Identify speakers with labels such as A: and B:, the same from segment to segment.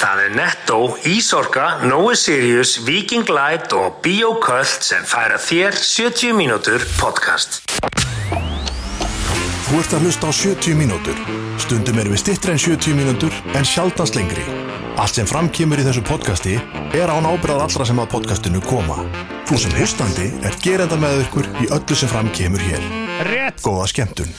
A: Það er Netto, Ísorka, Nói Sirius, Viking Light og Bioköld sem færa þér 70 mínútur podcast.
B: Þú ert að hlusta á 70 mínútur. Stundum erum við stittri en 70 mínútur en sjaldans lengri. Allt sem framkýmur í þessu podcasti er án ábyrðað allra sem að podcastinu koma. Þú sem hlustandi er gerenda með ykkur í öllu sem framkýmur hér.
C: Rétt
B: Góða skemmtun.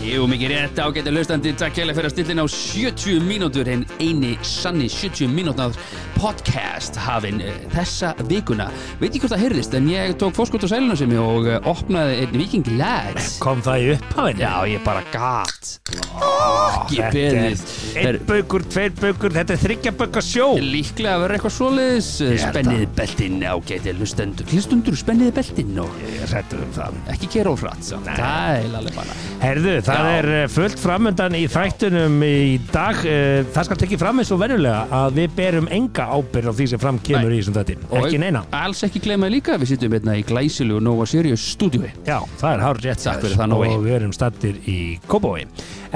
D: Jú, mikið rétt ágættu hlustandi, takk hérlega fyrir að stillin á 70 mínútur en eini sanni 70 mínútnar podcast hafin eh, þessa vikuna. Veit ekki hvort það heyrðist en ég tók fórskot á sæluna sem ég og eh, opnaði einn Viking Lads.
C: Kom það í upphafinu
D: Já, ég bara gat. Ekki beðið.
C: Einn
D: Her-
C: baukur, tveir baukur, þetta er þryggja bauka sjó
D: Líklega verður eitthvað svoleiðis eh,
C: Ég held
D: Spennið beltin ágæti hlustendur Hlustundur spennið beltin og
C: Ég er hræddur um það
D: ekki gera of hratt samt. Það er alveg bara
C: Herðu, það
D: Já.
C: er eh, fullt framöndan í þættunum í dag Eh, Það skal tekið fram eins og verulega að við berum enga ábyrð á því sem fram kemur
D: Nei.
C: í þessum þætti
D: Og
C: Ekki neina
D: Alls ekki glemma líka að Við sittum hérna í glæsilu og Nova Sirius stúdíu
C: Já, það er hár rétt hjá
D: Takk fyrir
C: þér.
D: það, Nói.
C: Og við erum stattir í Kóbói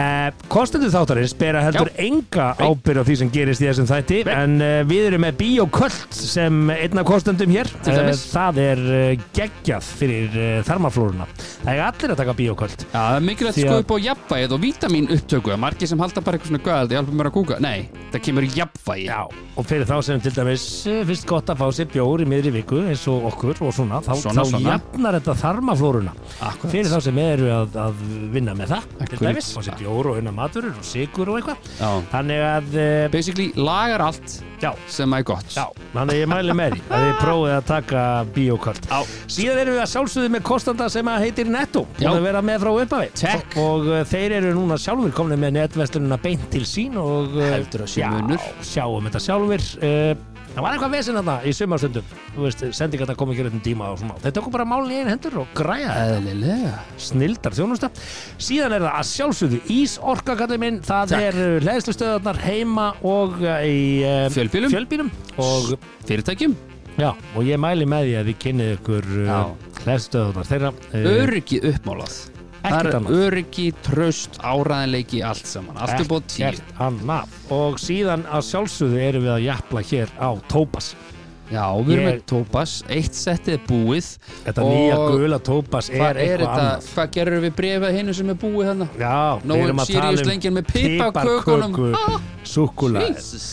C: eh, Kostendur þáttarins bera heldur
D: Já.
C: enga ábyrð á því sem gerist í þessum þætti
D: Nei.
C: En eh, við erum með Bíoköld sem einn af kostendum hér
D: Til dæmis.
C: Það er eh, geggjað fyrir eh, þarmaflóruna Það er allir að taka Bíoköld
D: Já, það er mikilvægt
C: Því
D: sko
C: að-
D: upp á jafnvægið og vítamin upptöku að margir sem halda bara eitthvað svona gæðald ég alveg mér að kúka, nei, það kemur jafnvægi
C: Já, og fyrir þá sem til dæmis eh, finnst gott að fá sér bjór í miðri viku eins og okkur og svona, þá,
D: Svona,
C: þá
D: svona.
C: jafnar þetta þarmaflóruna.
D: Akkúrat.
C: Fyrir þá sem eru að, að vinna með það, til
D: Akkúrat.
C: dæmis, fá sér bjór og unna maturur og sigur og eitthvað.
D: Já.
C: Þannig að, eh,
D: basically lagar allt
C: já,
D: sem er gott
C: já, þannig að ég mæli með því að þið prófið að taka bíókvöld.
D: Já.
C: Síðan erum við að sjálfsögðu með kostanda sem að heitir Netto,
D: Já.
C: búin að vera með frá upphafi.
D: Takk.
C: Og eh, þeir eru núna sjálfur komni með netverslununa beint til sín og... eh,
D: Heldur að sé munur.
C: Já, sjáum þetta sjálfur. eh, Það var eitthvað vesinn þarna í sumarstundum, þú veist, sendingarna kom ekki réttum tíma og svona. Þeir tóku bara málin í einu hendur og græja þetta.
D: Eðlilega
C: Snildar þjónusta. Síðan er það að sjálfsögðu Ísorka, kallið minn, það
D: Takk.
C: Takk. er leðslustöðarnar heima og eh, í eh,
D: Fjölbýlum.
C: fjölbýlum. Og
D: Fyrirtækjum,
C: Já, og ég mæli með því að þið kynnið ykkur
D: Já.
C: hlæðstöðunar þeirra. Uh,
D: öryggi uppmálað Það
C: Ekkert
D: er
C: annað.
D: öryggi, tröst, áræðinleiki, allt saman Allt upp á tíu
C: Ekkert annað. Og síðan að sjálfsögðu erum við að jafla hér á Tópas.
D: Já, við erum
C: Ég-
D: með tópas, eitt settið er búið
C: Þetta
D: og
C: nýja gula Tópas er
D: Hvað er
C: eitthvað
D: þetta,
C: annað.
D: hvað gerir við brefið hinu sem er búið hérna? þarna?
C: Já,
D: Nói
C: við erum að
D: Sirius
C: tala
D: lengjan
C: um
D: með piparkökunum. Ah,
C: súkulæði.
D: Jesus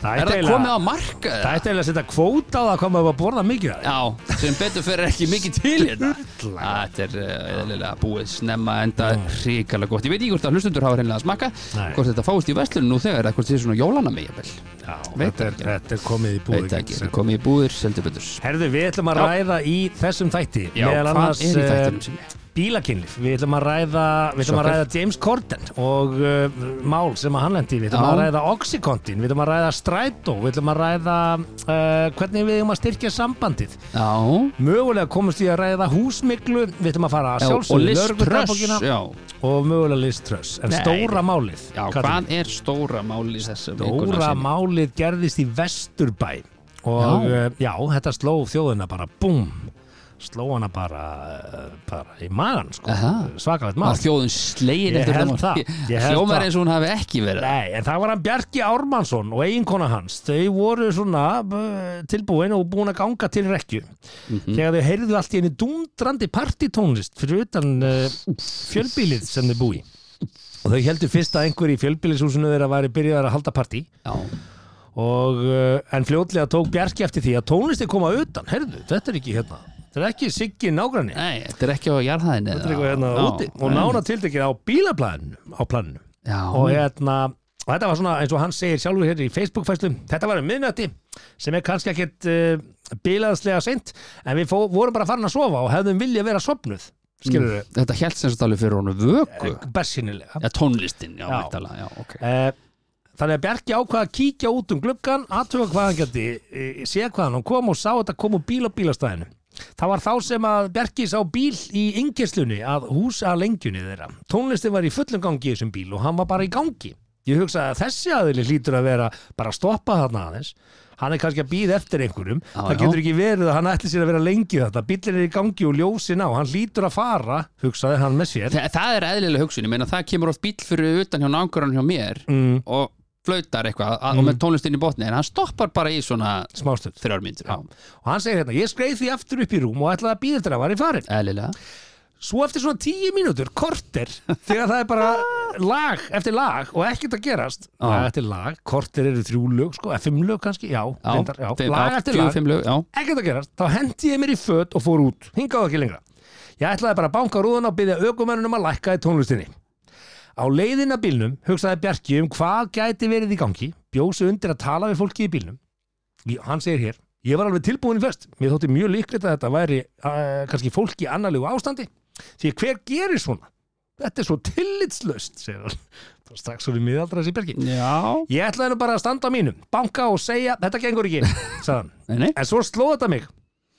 C: Það
D: Er það
C: eiginlega-
D: komið á markað?
C: Það ætti eiginlega að setja kvóta á það hvað maður var að borða mikið af því.
D: Já, sem betur fyrir ekki mikið til hérna Þetta er eh, eðlilega búið snemma enda hrikalega gott Ég veit ekki hvort að hlustundur hafa reynilega að smakka
C: Nei.
D: Hvort þetta fáist í vestlunum nú þegar eða hvort þetta er svona jólana mig jafnvel
C: Já,
D: Veit
C: þetta er,
D: ekki.
C: þetta er komið í búið.
D: Veit ekki,
C: sem-
D: það komið í búðir, seldu betur
C: Herðu, við ætlum að
D: Já.
C: ræða í þessum þætti
D: Já,
C: meðal
D: hvað
C: annars
D: er í
C: eh,
D: þættinum sinni?
C: bílakynlíf, við ætlum að ræða við ætlum að
D: Shocker.
C: ræða James Corden og uh, mál sem að hann lendi, í. við ætlum
D: Já.
C: að ræða Oxycontin, við ætlum að ræða Strætó, við ætlum að ræða uh, hvernig við ætlum að styrkja sambandið
D: Já,
C: mögulega komumst við að ræða húsmiklu við ætlum að fara að
D: já og
C: sjálfsögðu
D: list tröss
C: lögregludagbókina
D: Já,
C: og mögulega liströss, en
D: Nei.
C: stóra málið
D: já
C: Katrín.
D: hvað er stóra máli í þessum
C: Dóra málið gerðist í Vesturbæ og
D: Já.
C: já, já þetta sló þjóðina bara búm sló hana bara, eh, bara í magan sko,
D: Aha.
C: svakalegt mál
D: Að þjóðin slegin
C: Ég
D: eftir
C: held
D: þetta mál.
C: það, ég held
D: Hljómar
C: það.
D: eins og hún hafi ekki verið
C: Nei, en það var hann Bjarki Ármannsson og eiginkona hans, þau voru svona eh, tilbúin og búin að ganga til rekju þegar þau heyrðu allt í einu dundrandi partitónlist fyrir utan uh, fjölbílið sem þau búi og þau heldur fyrst að einhver í fjölbílishúsinu þeirra væri byrjaðar að halda partí
D: Já,
C: og, uh, en fljótlega tók Bjarki eftir því að tónlisti koma utan heyrðu, þetta er ekki hérna þetta er ekki Siggi nágranni
D: nei, þetta er ekki á jarðhæðinni
C: þetta er eitthvað hérna úti og nána tiltekið á bílaplaninu á planinu og
D: Já,
C: hérna og þetta var svona eins og hann segir sjálfur hérna í Facebook-fæslu þetta var um miðnætti sem er kannski ekkit uh, bilaðslega seint en við fó, vorum bara farin að sofa og hefðum vilja vera sopnuð skilur við,
D: Mm, þetta held sem sagt alveg fyrir honum vöku
C: mm. bessinilega
D: Já, tónlistin, já,
C: Já.
D: væntanlega, já, ok
C: Eh, Þannig að Bjarki ákvaða að kíkja út um gluggan, aðtuga hvað hann geti, eh, sé hvaðan hann kom og sá þetta kom úr bíl á bílastæðinu. Það var þá sem að Bjarki sá bíl í yngjeslunni að húsa lengjunni þeirra. Tónlistin var í fullum gangi í þessum bíl og hann var bara í gangi. Ég hugsaði að þessi aðili hlýtur að vera bara að stoppa þarna aðeins. Hann er kannski að býða eftir einhverjum.
D: Já,
C: það
D: já.
C: getur ekki verið að hann ætli sér að vera lengi þetta. Bíllinn er í gangi og ljósin á. Hann hlýtur að fara, hugsaði hann með sér.
D: Þa, það er eðlilega hugsun, ég meina það kemur oft bíl fyrir utan hjá nákvæmran hjá mér
C: Mm.
D: og flautar eitthvað mm. og með tónlistinni í botni en hann stoppar bara í svona
C: smástund
D: þrjár myndir
C: og hann segir hérna, ég skreið því aftur upp í rúm og ætlaði að býða þetta að var í farin
D: eðlilega
C: svo eftir svona tíu mínútur, korter þegar það er bara lag eftir lag og ekkert að gerast
D: Já.
C: lag eftir lag, korter eru þrjú lög sko, eða fimm lög kannski, já,
D: Já,
C: reyndar, já.
D: fimm-
C: lag
D: já,
C: eftir
D: fjögur,
C: lag,
D: fimm lög, já.
C: ekkert að gerast þá hendi ég mér í föt og fór út hingaðu ekki lengra ég ætlaði bara að banka rúðan og byrja ökumennunum að lækka í tónlistinni á leiðin að bílnum hugsaði Bjarki um hvað gæti verið í gangi bjósi undir að tala við fólki í bílnum Ég- hann segir hér ég var alveg tilbúin í flest mér þótti mjög líklegt að þetta væri uh, kannski fólk í annarlegu ástandi því að hver gerir svona þetta er svo tillitslaust segir hann Það var strax svona miðaldra þessi bergi
D: já,
C: ég ætlaði nú bara að standa á mínum banka og segja þetta gengur ekki sagði hann
D: nei, nei.
C: en svo sló þetta mig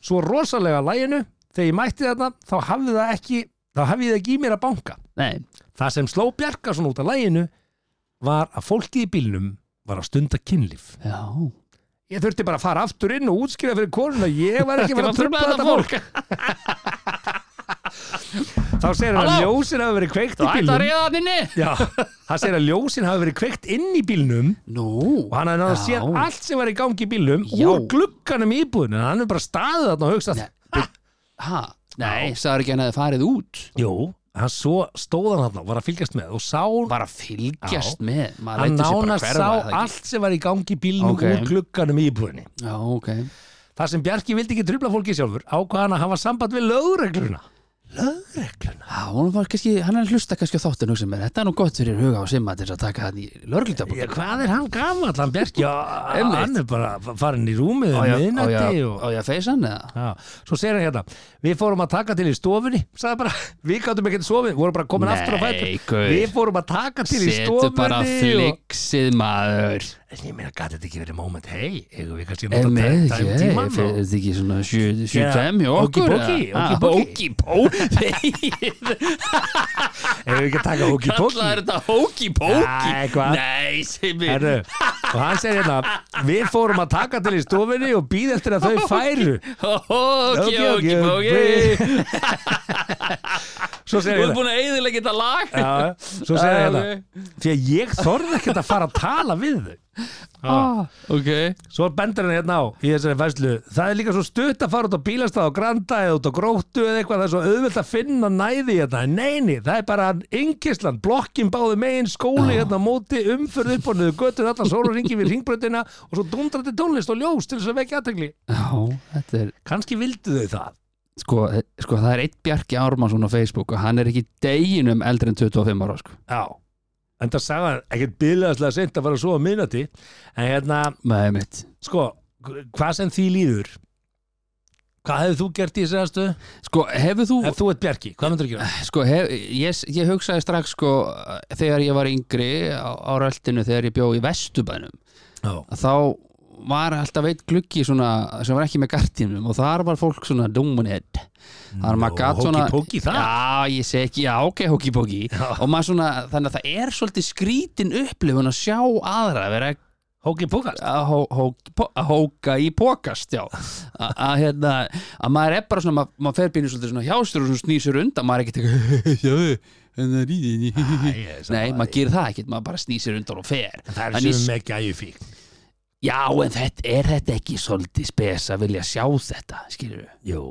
C: svo rosalega læginu þegar ég mætti þetta þá hafði það ekki þá hafði það ekki í mér að banka
D: nei.
C: það sem sló Bjarkason út af læginu var að fólkið í bílnum var að stunda kynlíf
D: já
C: Ég þurfti bara að fara aftur inn og útskýra fyrir konuna Ég var ekki að fara að trubla þetta fólk Þá segir hann að
D: Halló?
C: ljósin hafi verið kveikt í
D: það ætla að
C: bílnum
D: reyða hann inni
C: Já, hann segir að ljósin hafi verið kveikt inn í bílnum
D: nú,
C: og hann hafði náða að
D: Já.
C: séð allt sem var í gangi í bílnum
D: Já.
C: úr glugganum í íbúðinu en hann er bara staðið þarna og hugsað
D: ha, nei, sagður ekki hann að það farið út
C: Jú, hann svo stóð hann þarna og var að fylgjast með og sá
D: bara fylgjast
C: Já.
D: með maður
C: hann
D: lætur sig bara
C: nána
D: hverfa,
C: sá
D: er það ekki?
C: allt sem var í gangi í bílnum
D: Ok.
C: úr glugganum í íbúðinu
D: já, ok
C: Þar sem Bjarki vildi ekki trubla fólki sjálfur ákvað hann að hafa samband við lögregluna Lögregluna
D: Já, hún var kannski, hann er að hlusta kannski á þáttinu sem er, þetta er nú gott fyrir huga og simma til þess að taka hann í
C: Já,
D: lörglutabók
C: hvað er hann gamall, hann Bjarki? Já,
D: Einmitt.
C: hann er bara farin í rúmið um miðnætti og...
D: Á ég að feysa hann eða?
C: Já, svo segir hann hérna, við fórum að taka til í stofunni, sagði bara, við gáttum ekki til sofið, vorum bara komin
D: Nei,
C: aftur á fætur,
D: gaur.
C: við fórum að taka til í
D: Setu
C: stofunni
D: bara
C: og...
D: flixið maður
C: En ég meina, gæti þetta ekki verið moment, hei, eigum við kannski að
D: En
C: nota
D: með
C: tæ-
D: ekki,
C: tæm
D: ég
C: tíman
D: fyrir
C: og...
D: þetta ekki svona
C: Já,
D: 75 hjá okkur Ah,
C: ókibóki,
D: Ókipóki
C: Eigum við ekki að taka hóki póki?
D: Kallar þetta ókipóki
C: Nei, hvað?
D: Nei, simmi
C: Herru, og hann segir hérna, við fórum að taka til í stofunni og býð eftir að þau færu.
D: Ókipóki
C: Svo
D: Þú
C: segir
D: ert
C: hérna,
D: búin að eiðilega þetta lag
C: Já, svo segir
D: Já,
C: hérna
D: ok.
C: því að ég þorði ekkert að fara að tala við þau
D: Ah, Ok
C: svo bendur hann hérna á í þessari fæslu það er líka svo stutt að fara út á bílastað og granda eða út á gróttu eða eitthvað það er svo auðvelt að finna næði hérna En neini, það er bara yngisland, blokkin báðu megin skóli hérna á móti, umförð upp og niður göttur allan sólu ringi við ringbröndina og svo dundrandi tónlist og ljós til þess að vekja aðtegli
D: Já, þetta er
C: kannski vildu þau það
D: sko, sko það er eitt Bjarki Ármannsson á Facebook og hann er ekki deginum eldri en 25 ára sko.
C: já en það sagði hann ekkert bílaðslega sent að fara að svo að minnati en hérna,
D: með mitt
C: sko, hvað sem því líður hvað hefur þú gert í þessu aðstöðu?
D: sko hefur þú
C: Ef þú ert Bjarki, hvað myndir þú gera?
D: sko, hef, ég, ég hugsaði strax sko þegar ég var yngri á, á röltinu þegar ég bjó í Vesturbænum
C: Já,
D: að þá var alltaf eitt gluggi svona, sem var ekki með gardínum og þar var fólk svona dúmunett þar maður gatt svona
C: hóki-póki það?
D: já, ég segi ekki, já, ok, hókipóki og maður svona, þannig að það er svolítið skrítin upplifun að sjá aðra að vera
C: hóki púkast
D: að hó- hó- po- að hóka í pokast já, A- að hérna að maður er bara svona, ma- maður fer býnir svolítið svona hjástur og svona snýsur undan, maður er ekkert eitthvað, sjáðu, hann er í þinni nei, maður gerir það ekkert, maður bara snýsir undan og fer
C: Það
D: En
C: er
D: ég
C: sem með gæju fík
D: já, en þetta, er þetta ekki svolítið spes að vilja sjá þetta, skilur við
C: Jú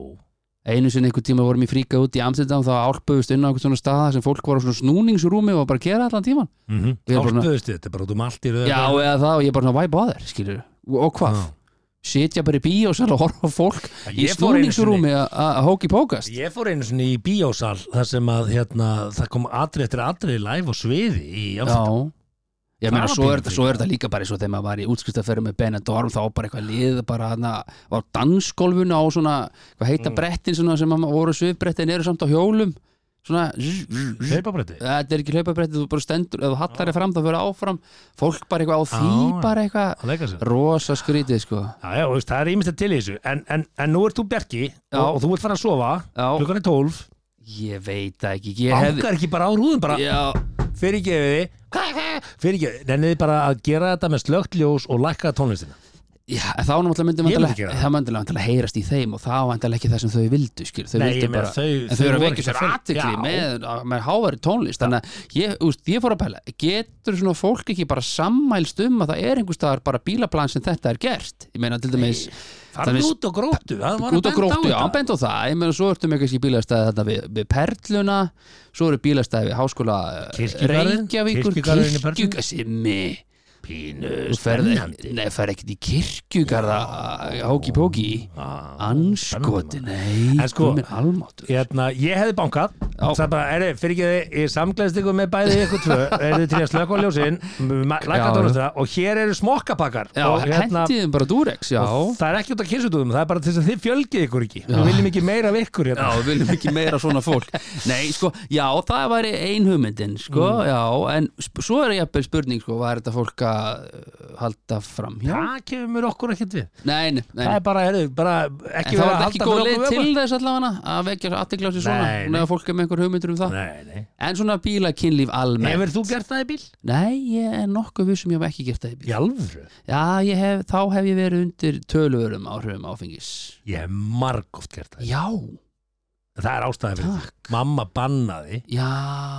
D: einu sinni einhvern tíma vorum í fríka út í Amstendam þá álpuðust inn á einhvern svona staða sem fólk var á svona snúningsrúmi og var bara að gera allan tíman Við erum bara svona-
C: Álpuðustu Mhm. þetta, bara út um allt í röðu
D: Já, eða það og ég bara svona, why bother, skilur Og hvað?
C: Já.
D: Sitja bara í bíó og horfa á fólk í
C: ég fór einu
D: snúningsrúmi að- að hóki pókast
C: Ég fór einu sinni í bíósal þar sem að hérna, það kom atrið eftir atrið live á sviði í
D: Já
C: Amsterdam.
D: Ég
C: Það
D: meina,
C: var
D: svo er,
C: pínu
D: svo er þetta líka bara eins og þegar maður var í útskristaferð með Benadorm þá var bara eitthvað lið bara hana, á dansgólfinu á svona hvað heita
C: Mm.
D: brettin svona sem maður voru svifbrettin eru samt á hjólum svona zzz, zzz, zzz.
C: Hlaupabretti.
D: þetta er ekki hlaupabretti, þú bara stendur ef þú hallar þér fram þá fyrir áfram fólk bara eitthvað á
C: Já,
D: því
C: já.
D: bara
C: Að leika sér.
D: eitthvað rosa skrítið sko
C: Já, já, þú veist, það er ímest til í þessu en, en, en nú ert þú Bjarki
D: Já.
C: og, og þú ert fara að sofa
D: Já.
C: klukkan er 12
D: Ég veit það ekki Ég hef
C: Bankar ekki bara á rúðum bara
D: Já,
C: fyrirgefiði fyrirgefiði, nenniði bara að gera þetta með slögt ljós og lækka tónlistina
D: Já, en þá náttúrulega myndi
C: Ég myndi
D: vandalega,
C: ekki gera það.
D: það myndi vandalega heyrast í þeim og það vandalega ekki það sem þau vildu skil, þau
C: Nei,
D: vildu
C: ég meina,
D: bara,
C: þau- þau
D: en þau eru að
C: voru
D: vekja
C: ekki
D: sér
C: að finna-
D: aðtikli
C: Já.
D: með, með háværi tónlist þannig að ég, úst, ég fór að pæla getur svona fólk ekki bara sammælst um að það er einhver staðar bara bílaplan sem þetta er gert ég meina til dæmis
C: farðu út og gróttu hann var að
D: út á
C: benda á
D: gróttu, já,
C: þetta.
D: hann bent á það ég meina, svo ertu með kannski bílastæði þetta við, við Perluna svo eru bílastæði við Háskóla eh,
C: Kirkjugarðinn,
D: Reykjavíkur,
C: kirkjugarðurinn í Perlunni.
D: Kirkjugarðin Simmi
C: pínu
D: Þú ferð,
C: spennandi
D: nei, ferð ekkert í kirkjugarða
C: eh,
D: Hóki-póki Anskoti, nei
C: En sko-
D: Guð minn almáttugur.
C: Hérna, ég hefði bankað
D: Já.
C: Það bara, er fyrir ekki þið, ég samgleðst ykkur með bæði ykkur tvö Er þið til að slöka á ljósin Læka
D: Já.
C: tónastra og hér eru smokkapakkar
D: Já,
C: Og
D: hérna,
C: hérna,
D: hendið þeim bara Durex, já
C: það er ekki út að kynsutúðum Það er bara til þess að þið fjölgið ykkur ekki Við viljum ekki meira af ykkur
D: Já,
C: hérna
D: við viljum ekki meira svona fólk Nei, sko, já, það væri ein hugmyndin sko,
C: Mm.
D: já, en sp- svo er jafnvel spurning, sko, var þetta fólk að uh, halda fram hjá?
C: Það kemur okkur ekkert við
D: Nei, nei, nei
C: Það er bara, heyrðu, bara
D: En
C: ekki
D: það
C: vera
D: var
C: að
D: ekki
C: halda
D: góð
C: fyrir
D: leið
C: okkur
D: til
C: vökva.
D: þess allavega að vekja aðtekla á sig svona
C: Nei,
D: Hún
C: nei.
D: hefur fólk er með einhver hugmyndur um það
C: Nei, nei.
D: En svona bíla kynlíf almennt
C: Hefur þú gert það í bíl?
D: Nei, ég er nokkuð vissum ég hef ekki gert það í bíl
C: Í alvöru?
D: Já, ég hef, þá hef ég verið undir töluverum áhrifum áfengis.
C: Ég hef margóft gert það
D: Já,
C: Það er ástæði fyrir
D: takk.
C: því. Mamma bannaði
D: Já.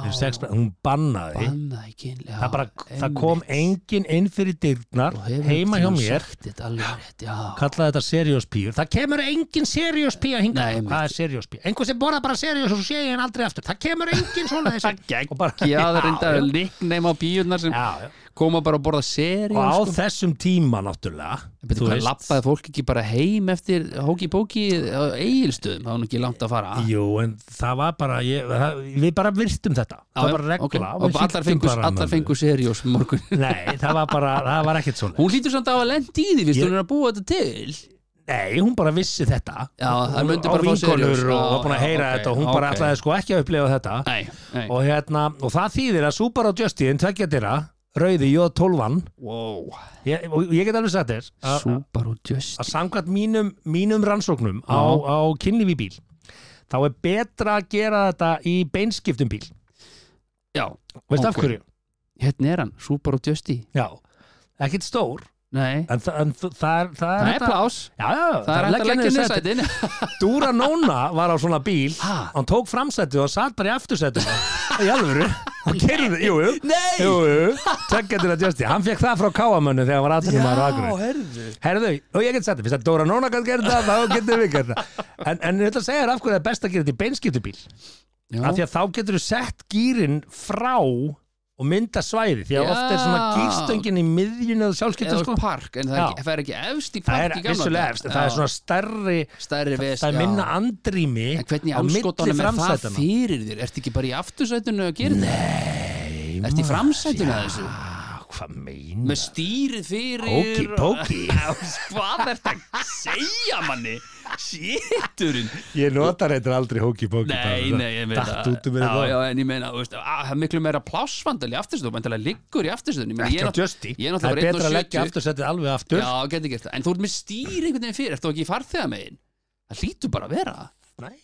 C: fyrir sex- Hún bannaði
D: Bannaði kynlega.
C: það, bara, það kom engin inn fyrir dyrnar heima hjá mér
D: Sagt þetta alveg rétt, já.
C: kallaði þetta serious píu það kemur engin serious píu að hinga
D: Nei, einmitt.
C: hvað er serious píu, einhver sem borða bara serious og svo sé ég hann aldrei aftur, það kemur engin svona þessi og bara,
D: Já, það er enda
C: já,
D: nickname á bíurnar sem
C: já, já.
D: koma bara að borða seri.
C: og á þessum tíma náttúrulega
D: Betur hvað, lappaði fólk ekki bara heim eftir hóki-póki á eigilstöðum, það var nú ekki langt að fara.
C: jú, en það var bara ég, það, við bara virtum þetta,
D: Já,
C: það
D: já,
C: var regla
D: ok.
C: og
D: Og
C: við
D: allar
C: fylgdum
D: fengu,
C: bara mömmu.
D: allar fengu seriós morgun.
C: nei, það var bara, það var ekkert svona
D: Hún hlýtur samt á að lendi í því, viðst,
C: Ég-
D: hún er að búa þetta til.
C: Nei, hún bara vissi þetta
D: Já, það
C: Hún
D: mundi
C: á
D: bara fá
C: vinkonur
D: seriós.
C: og
D: Já,
C: var búin að
D: já,
C: heyra
D: ok,
C: þetta og hún bara
D: ok.
C: ætlaði sko ekki að upplefa þetta
D: Nei, nei.
C: og, hérna, og það þýðir að Subaru Justin tveggja dyra, rauði J12
D: Wow.
C: ég, og ég get alveg sagt þér að- að-
D: Subaru Justin.
C: Ah. að samkvæmt mínum, mínum rannsóknum á, á kynlífi í bíl þá er betra að gera þetta í beinskiptum bíl
D: Já,
C: veist af
D: Ok.
C: hverju?
D: hérna er hann, Subaru Justin.
C: Já, ekkert stór
D: Nei,
C: en, þa- en þa- það er
D: það
C: það
D: er
C: hægt að-
D: plás
C: Já, já,
D: Það er hægt að leggja niður
C: sætin.
D: sætin
C: Dúra Nóna var á svona bíl
D: Ha?
C: hann tók framsætið og satt bara í aftursætið í alvöru hann gerði, jú, jú,
D: Nei!
C: jú, jú tveggjandur að Justin, hann fekk það frá káamönnu þegar hann var aðtökum að rakur
D: herðu
C: herðu, og ég get sagt það, fyrst að Dóra Nóna kann gera það, þá getur við gert það en, en þetta segir af hverju það er best að gera þetta í beinskiptubíl af því að þá getur þú sett gýrin frá og mynda svæði því að
D: Já.
C: oft er svona gýrstöngin í miðjunni og sjálfskipta
D: Eða
C: sko
D: sko. park, en það er,
C: Já.
D: ekki, það er ekki efst í
C: það
D: park
C: er
D: í gamla
C: vissulega
D: daga.
C: efst, en það er
D: Já.
C: svona stærri
D: stærri
C: það,
D: ves
C: það er
D: já.
C: minna andrými
D: En hvernig
C: á milli
D: anskotanum er það
C: framsætanna.
D: fyrir þér? Ertu ekki bara í aftursætunu að gera þetta? Nei Ertu í framsætunu að þessu?
C: Ah, Hvað
D: Með
C: meina?
D: stýrið fyrir
C: Hóki póki
D: Hvað er þetta að segja manni? Sýtturinn
C: Ég notar eitthvað aldrei hóki póki
D: Nei, nei, ég meina
C: Datt út um
D: já,
C: mér það
D: já, en ég meina, þú veist, að, það er miklu meira plássvandal í afturstöðu, menntalega liggur í afturstöðu
C: Ekki á Justy
D: Ég er
C: Það er
D: náttúrulega
C: betra að
D: bara
C: leggja
D: 1,70
C: aftursettið alveg aftur
D: Já, getur gert það, en þú ert með stýr einhvern veginn fyrir, ert þú ekki í farþega megin? Það hlýtur bara að vera
C: Nei.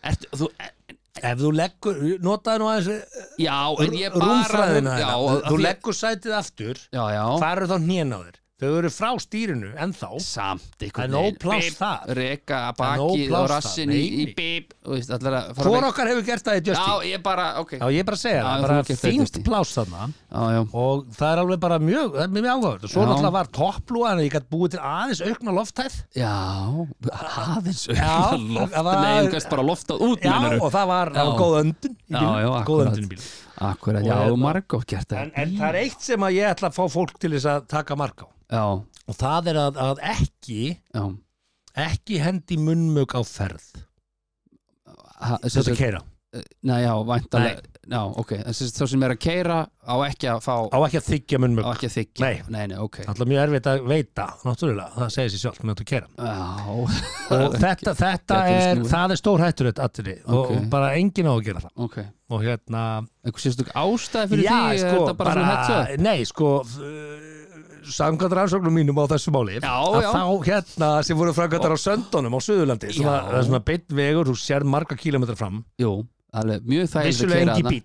D: Ert, þú, e,
C: Ef þú leggur, notaðu nú aðeins eh,
D: Já, en ég bara
C: rúmfræðina
D: já,
C: þeirra
D: af
C: Þú
D: því-
C: leggur sætið aftur
D: Já, já,
C: Hvað eru þá hnénáður? Þau eru frá stýrinu ennþá
D: samt
C: Það er
D: einhvern
C: nóg pláss
D: Bip,
C: þar
D: Reka,
C: er nóg
D: bakið og
C: pláss þar,
D: rassin í, í
C: nei.
D: bíp Þú veist, allar að fara
C: Hvor
D: veg-
C: okkar hefur gert það í Justy?
D: Já, ég bara, ok
C: Já,
D: Já,
C: ég bara segja
D: Já,
C: það,
D: þú
C: bara
D: hefur gert það í
C: fínt
D: Justy.
C: pláss þarna
D: já,
C: og það er alveg bara mjög, það er mjög áhugaverð og svo
D: Já.
C: náttúrulega var topplúa en ég gætt búið til aðeins aukna loftæð
D: já Aðeins
C: Já,
D: loft,
C: það var-
D: Nei, þú gæst bara loftað út
C: já,
D: meinarðu?
C: og það var, það var
D: Já.
C: góð öndun í
D: Já,
C: bílnum,
D: já,
C: góð
D: akkurat.
C: öndun í bílum
D: Akkurat,
C: Og
D: já,
C: hérna-
D: og margótt gert það
C: en, en það er eitt sem að ég ætla að fá fólk til þess að taka mark á
D: Já,
C: og það er að, að ekki
D: já
C: ekki hendi munnmök á ferð
D: Ha, sem
C: þetta
D: sagt-
C: að keira,
D: Nei, já, væntalega Já, ok, þessi þá sem er að keira á ekki að fá,
C: á ekki að þykja
D: á
C: munnmök
D: ekki að þykja
C: Nei.
D: nei, ok Já,
C: alltaf mjög erfitt að veita náttúrulega, það segir sér sjálf með að keira og þetta, þetta
D: Þetta er
C: er,
D: snúið.
C: það er stór hættur þetta atriði og
D: Ok.
C: og bara engin á að gera það
D: ok
C: og hérna
D: Eitthvað sérstök ástæði fyrir
C: sko,
D: því er þetta bara, svona hetsa
C: nei, sko f- samkvæmt rannsóknum mínum á þessu máli
D: Já,
C: að
D: já.
C: þá hérna sem voru framkvæmtar á söndunum á Suðurlandi svona,
D: Já.
C: það er svona beitt vegur, þú sér marga kílometra fram
D: Jú, alveg, mjög þægilegt að
C: vissulega
D: keira
C: engi
D: þarna.
C: bíl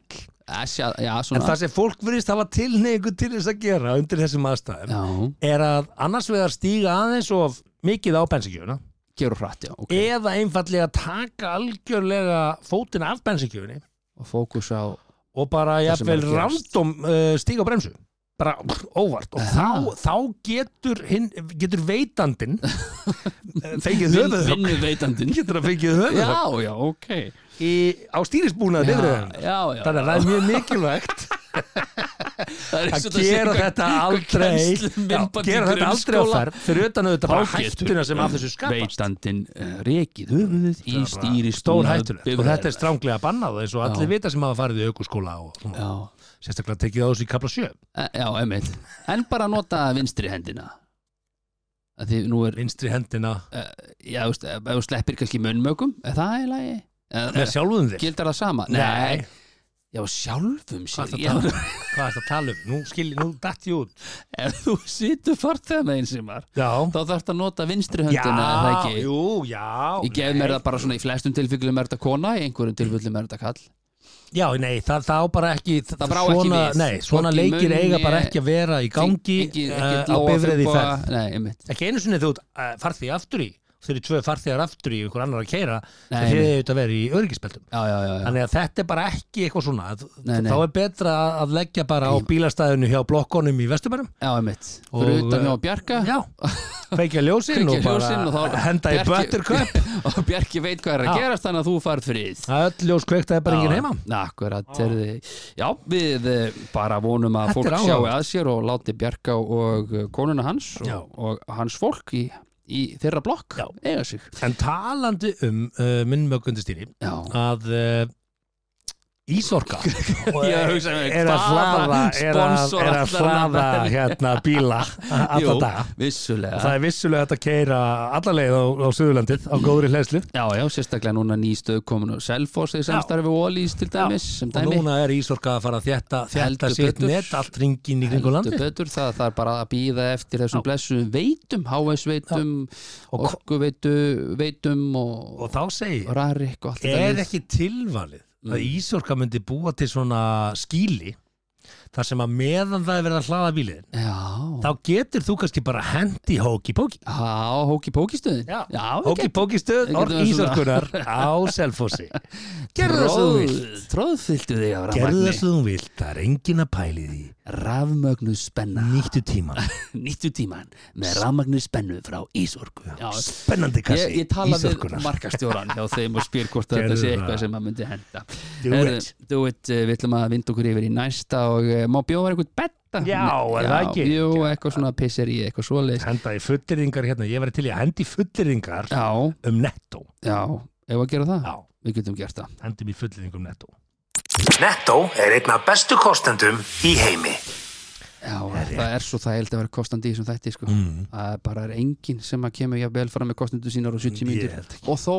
D: Æsja, já,
C: En
D: svona
C: það sem fólk verðist hafa tilneigu til þess að gera undir þessum aðstæðum
D: Já,
C: er að annars vegar stíga aðeins of mikið á bensinkjöfuna
D: gerur hratt, já, ok
C: eða einfallega taka algjörlega fótinn af bensinkjöfunni
D: Og fókus á
C: og bara
D: Það sem er
C: jafnvel
D: að gerast.
C: random uh, stíga á bremsu bara pff, óvart og þá,
D: Aha.
C: þá getur, hinn, getur veitandin eh, fengið
D: vin,
C: höfuð
D: vinnuveitandin
C: getur að fengið höfuð
D: Já, já, ok
C: á stýrisbúnaði
D: Já,
C: bifreiðarinnar.
D: já, já
C: þannig að það er mjög mikilvægt
D: það er
C: að
D: eins og það sé
C: gera
D: eitthvað-
C: þetta
D: eitthvað
C: aldrei já,
D: kennsluminnband í
C: gera þetta aldrei á
D: grunnskóla.
C: ferð fyrir utan auðvitað bara hættuna sem af þessu skapast
D: veitandin uh, rekið höfuðið í stýri
C: stór hættulegt og þetta er stránglega bannað eins og allir vita sem hafa farið í aukurskóla og svona.
D: já,
C: sérstaklega tekið á þessu í kapla 7
D: e- já emitt en bara nota vinstri hendina að því nú er
C: vinstri hendina
D: já, þú veist, ef ef þú sleppir kannski munnmökum er það í lagi Eða-
C: með sjálfum þig
D: gildar það sama
C: Nei.
D: já, sjálfum
C: Hvað
D: sér
C: ertu að
D: Já,
C: tala um? Hvað er þetta að tala um? Nú skil, nú datt ég út
D: ef þú situr farþegan eins sem var
C: Já,
D: þá þarf þetta að nota vinstri
C: já,
D: höndina er það ekki?
C: jú, já
D: Ég gef mér það bara svona í flestum tilfellum er þetta kona, í einhverjum tilfellum er þetta kall
C: Já, nei, það, það á bara ekki
D: Það brá ekki
C: svona,
D: við.
C: Nei, svona
D: Hvorki
C: leikir
D: munni-
C: eiga bara ekki að vera í gangi
D: Engin-
C: eh, á
D: ekkert lá að
C: bifrið í
D: fubba-
C: ferð
D: Nei, einmitt
C: ekki einu sinni þú uh, farþið aftur í þau eru tvö farþiðar aftur í einhver annar að keira
D: Nei,
C: þeir eru auðvitað að vera í öryggisbeltum
D: Já, já, já, já.
C: þannig að þetta er bara ekki eitthvað svona
D: Nei, nei.
C: þá er betra að leggja bara á bílastæðinu hjá blokkonum í vestumærum
D: já einmitt
C: Og,
D: Fyrir utan hjá
C: eh,
D: Bjarka
C: já, kveikja ljósin
D: Kveikja
C: og bara
D: ljósin og þá-
C: henda í
D: Bjarki-
C: buttercup
D: og Bjarki veit hvað er að
C: Já.
D: gerast þannig að þú farð frið
C: Það öll ljós kveiktaði bara enginn heima
D: Akkurat, herði, já, við eh, bara vonum að
C: Þetta er
D: fólk sjáu
C: áhugavert.
D: að sér og láti Bjarka og eh, konuna hans
C: Já.
D: og, og hans fólk í, í þeirra blokk
C: Já.
D: eiga sig
C: en talandi um uh, minnmökkundistýri
D: Já,
C: að uh, Ísorka
D: Ég er að hugsa með
C: er að
D: hvaða
C: hlaða er að,
D: sponsor
C: er að
D: ætlar hann að
C: hlaða
D: velja?
C: hérna bíla alla
D: Jú,
C: daga
D: vissulega
C: Það er vissulega hægt að keira alla leið á, á Suðurlandið á góðri hlæslu
D: Já, já, sérstaklega núna nýstöð komin og Selfoss í samstarfi og Ólís til dæmis sem
C: og
D: dæmi
C: núna er Ísorka að fara að þétta, þétta
D: Heldur
C: sitt
D: betur.
C: net allt ringin í kringu
D: Heldur
C: landið
D: betur, það, það er bara að býða eftir þessum blessu veitum, HS-veitum
C: Og ko-
D: orkuveitu veitum og,
C: og þá segir,
D: og rarik og allt
C: er
D: lið.
C: ekki tilvalið að Ísorka myndi búa til svona skýli þar sem að meðan það er verið að hlaða bílið
D: Já,
C: þá getur þú kannski bara hendi hóki-póki
D: á hóki-póki-stöðin
C: hóki-póki stöð
D: Við
C: orð
D: getum svona-
C: Ísorkunar á Selfossi gerðu það svo þú vilt
D: Tróðfylltu þig af
C: gerðu það
D: rafmagni
C: svo þú vilt, það er engin að pæli því
D: Rafmagnu spenna
C: nýttu tíman
D: Nýttu tíman með rafmagnu spennu frá Ísorku Já,
C: spennandi
D: Ég,
C: kassi
D: ég tala við
C: Ísorkunar.
D: markastjóran hjá þeim og spyr hvort
C: Gerðu
D: þetta sé
C: það.
D: eitthvað sem að myndi henda
C: Do
D: Heyrðu,
C: it.
D: do it, eh, við ætlum að vinda okkur yfir í næsta og eh, má bjóða eitthvað betta
C: Já, er það
D: Já,
C: ekki?
D: Jú, eitthvað svona pissir í eitthvað svoleiðis
C: henda í fullyrðingar hérna, ég væri til í að hendi fullyrðingar
D: Já,
C: um netto
D: já, ef að gera það
C: já,
D: Við getum gert það
C: hendi mér fullyrðingum um netto
A: Netto er einn af bestu kostendum í heimi.
D: Já, það er svo það held að vera kostandi í þessum þætti sko.
C: Mm.
D: Það er bara er enginn sem að kemur jafnvel fara með kostendur sínar og 70
C: Ég
D: mínútur
C: held ekki.
D: og þó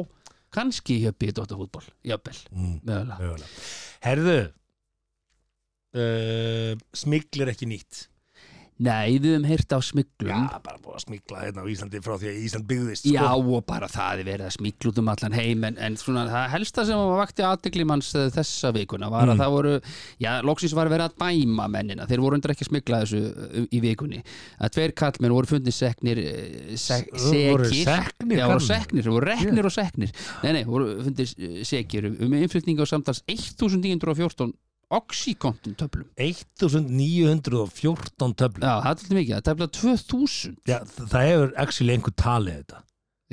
D: kannski hjá B.fútbol jafnvel,
C: Mm.
D: mögulega
C: mögulega herðu uh, smiglir ekki nýtt
D: Nei, við höfum heyrt á smiglum
C: já, bara búið að smigla hérna á Íslandi frá því að Ísland byggðist sko.
D: Já og bara það er verið að smíkla út um allan heim en, en svona það helsta sem var vakti aðtegli manns eh, þessa vikuna var að það voru, já loksins var verið að dæma mennina, þeir voru undir ekki að smíkla þessu eh, í vikunni, að tveir kallmenn voru fundið seknir eh, sek,
C: S-
D: sekir,
C: voru seknir
D: já voru
C: karlmenn?
D: seknir, voru reknir og seknir nei nei, voru fundið eh, sekir um innflutning á samtals 1914 oxykontin töflum
C: 1914 töflum já.
D: já það er alltaf mikið, það er tæfla 2000
C: þ- það hefur actually einhver talið þetta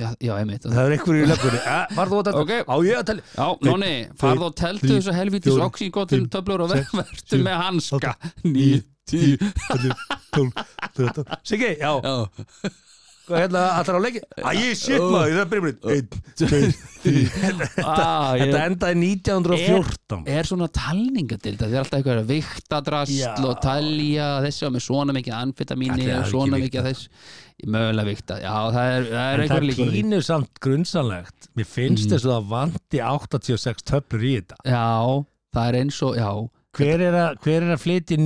D: já, já einmitt,
C: það er einhverju í löggunni Eh, var þú að tala?
D: Ok.
C: á ég að tala?
D: Já,
C: Einn,
D: Nóni, farð og teltu
C: þrír,
D: þessu helvítis
C: fjórir,
D: oxygotin
C: fimm,
D: töflur og
C: sex,
D: verður
C: sjö,
D: með hanska
C: níu,
D: 9, 10
C: Ellefu, tólf, þrettán. Siggi, já, hvað hérna allar á leiki? Æ, ég shit maður, það byrjum við einn, tveir, Þetta
D: Þetta
C: endaði 1914
D: Ah, er svona talningadilda það er alltaf eitthvað að vikta drastl
C: Já.
D: og talja þessi og með svona mikið
C: Ætli
D: anfetamíni
C: það
D: og
C: hafi
D: svona
C: ekki
D: mikið af þess mögulega vikta, já það er,
C: En
D: það er
C: það
D: eitthvað
C: er
D: líka líka
C: kínu samt grunnsanlegt Mm. Mér finnst þess að það vanti 86 töflur í þetta
D: Já, það er eins og, já
C: Hver er að, hver er að flytja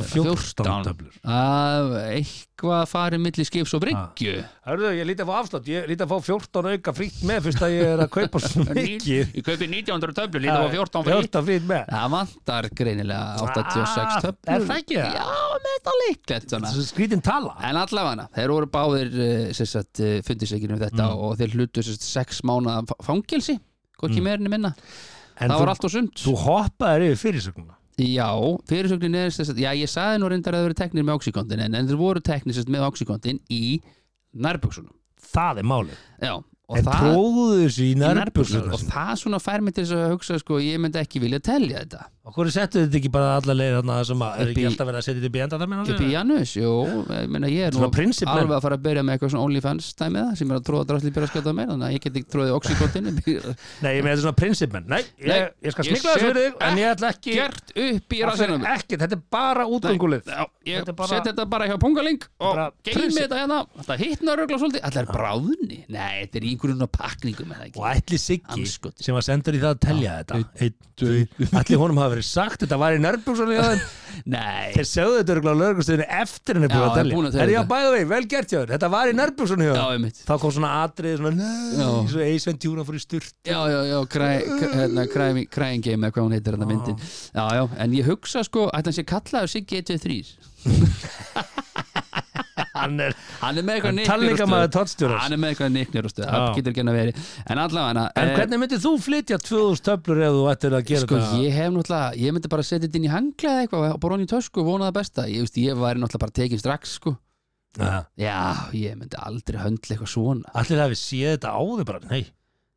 C: 1914 töflur?
D: Af eitthvað farið milli skips og bryggju
C: Hörðu, ég lítið að fá afslátt, ég lítið að fá 14 auka frýtt með fyrst að ég er að kaupa svo mikið.
D: Ég kaupi 1900 töflur, lítið á 14 fyrir
C: 14 frýtt með.
D: Það vantar greinilega 86
C: Ah,
D: töflur
C: er það ekki það?
D: Já, með þetta líklegt svona
C: Þessi skrítin tala.
D: En allavega, þeir voru báðir eh, sem sagt, eh, fundið sér ekki um þetta
C: Mm.
D: og þeir hlutu sem sagt, sex mánaða fa- fangelsi hvorki mm. meirinni minna
C: En
D: það
C: þú,
D: var allt og sumt
C: þú hoppaðir yfir fyrirsögnuna.
D: Já, fyrirsögnin er sem sagt, já, ég saði nú reyndar að þeir voru teknir með oxykondin en, en þeir voru teknir sem sagt, með oxykondin í nærbuksunum
C: Það er málið.
D: Já, og
C: En
D: það
C: prófuðu þessu í
D: í nærbuxurnar. og
C: nærbjörnum.
D: það svona fær mig til þess að hugsa sko, ég myndi ekki vilja telja þetta
C: Og hverju settu þetta ekki bara alla leið þarna sem að, er
D: Upp í-
C: ekki alltaf verið að setja þetta upp í enda það
D: upp í
C: meina?
D: Janus, jú, ég meina ég er nú
C: Mm. Svona prinsipp, menn.
D: alveg að fara að byrja með eitthvað svona OnlyFans dæmiða sem er að tróða drastli byrja að skjóta meira þannig að ég get ekki tróðið oxykondin
C: Nei, ég meina þetta er svona prinsipmenn. Nei,
D: Nei,
C: ég, ég skal
D: ég
C: smikla þessu
D: set
C: fyrir þig, en ég ætla ekki...
D: gert upp í
C: Það um
D: rassinum
C: er ekki, þetta er bara útgöngulið.
D: Já, ég
C: Þetta er bara-
D: set þetta bara hjá pungaling og
C: Bara
D: geymi
C: prinsip.
D: þetta hérna, þetta hittnar rögla svolítið Þetta er bráðni, nei, þetta er í einhverjum svona pakningum
C: og
D: eða ekki
C: ætli Siggi
D: Andskotinn. Ah,
C: sem var sendur í það að telja þetta Einn, tveir. ætli honum hafa verið sagt þetta var í nörbjörnsunni hjá þeim
D: Nei,
C: þeir sögðu þetta örgulega á lögurstuðinu eftir henni búið
D: Já,
C: að
D: er búin að
C: telja
D: telja
C: er já
D: þetta.
C: bæða vei, vel gert hjá þér, þetta var í nörbjörnsunni hjá
D: já,
C: þeim
D: einmitt
C: þá kom svona atrið svona
D: Já.
C: "Nei", svo Eisven Tjúna fór í styrt
D: Já, já, já, kræ- kræ- hérna, Crying crying Game eða hvað hún heitir þetta myndin Já, já, en ég hugsa sko, ætti hann sé kallaður Siggi E 123
C: hann er
D: Hann er með eitthvað
C: Hann
D: nicknir og
C: talninga maður
D: stuð.
C: toddstjórans.
D: Hann er með eitthvað nicknir og stuð, það
C: Já.
D: getur ekki að veri En allavega eh,
C: En hvernig myndir þú flytja 2000 töflur ef þú ættir að gera
D: Sko
C: þetta?
D: ég hef náttúrulega, ég myndi bara setja þetta inn í hangla eða eitthvað og bara hann í tösku og vona það besta Ég veist, ég væri náttúrulega bara tekin strax sko
C: Aha.
D: Já, ég myndi aldrei höndla eitthvað svona
C: Allir hafi séð þetta áður bara, nei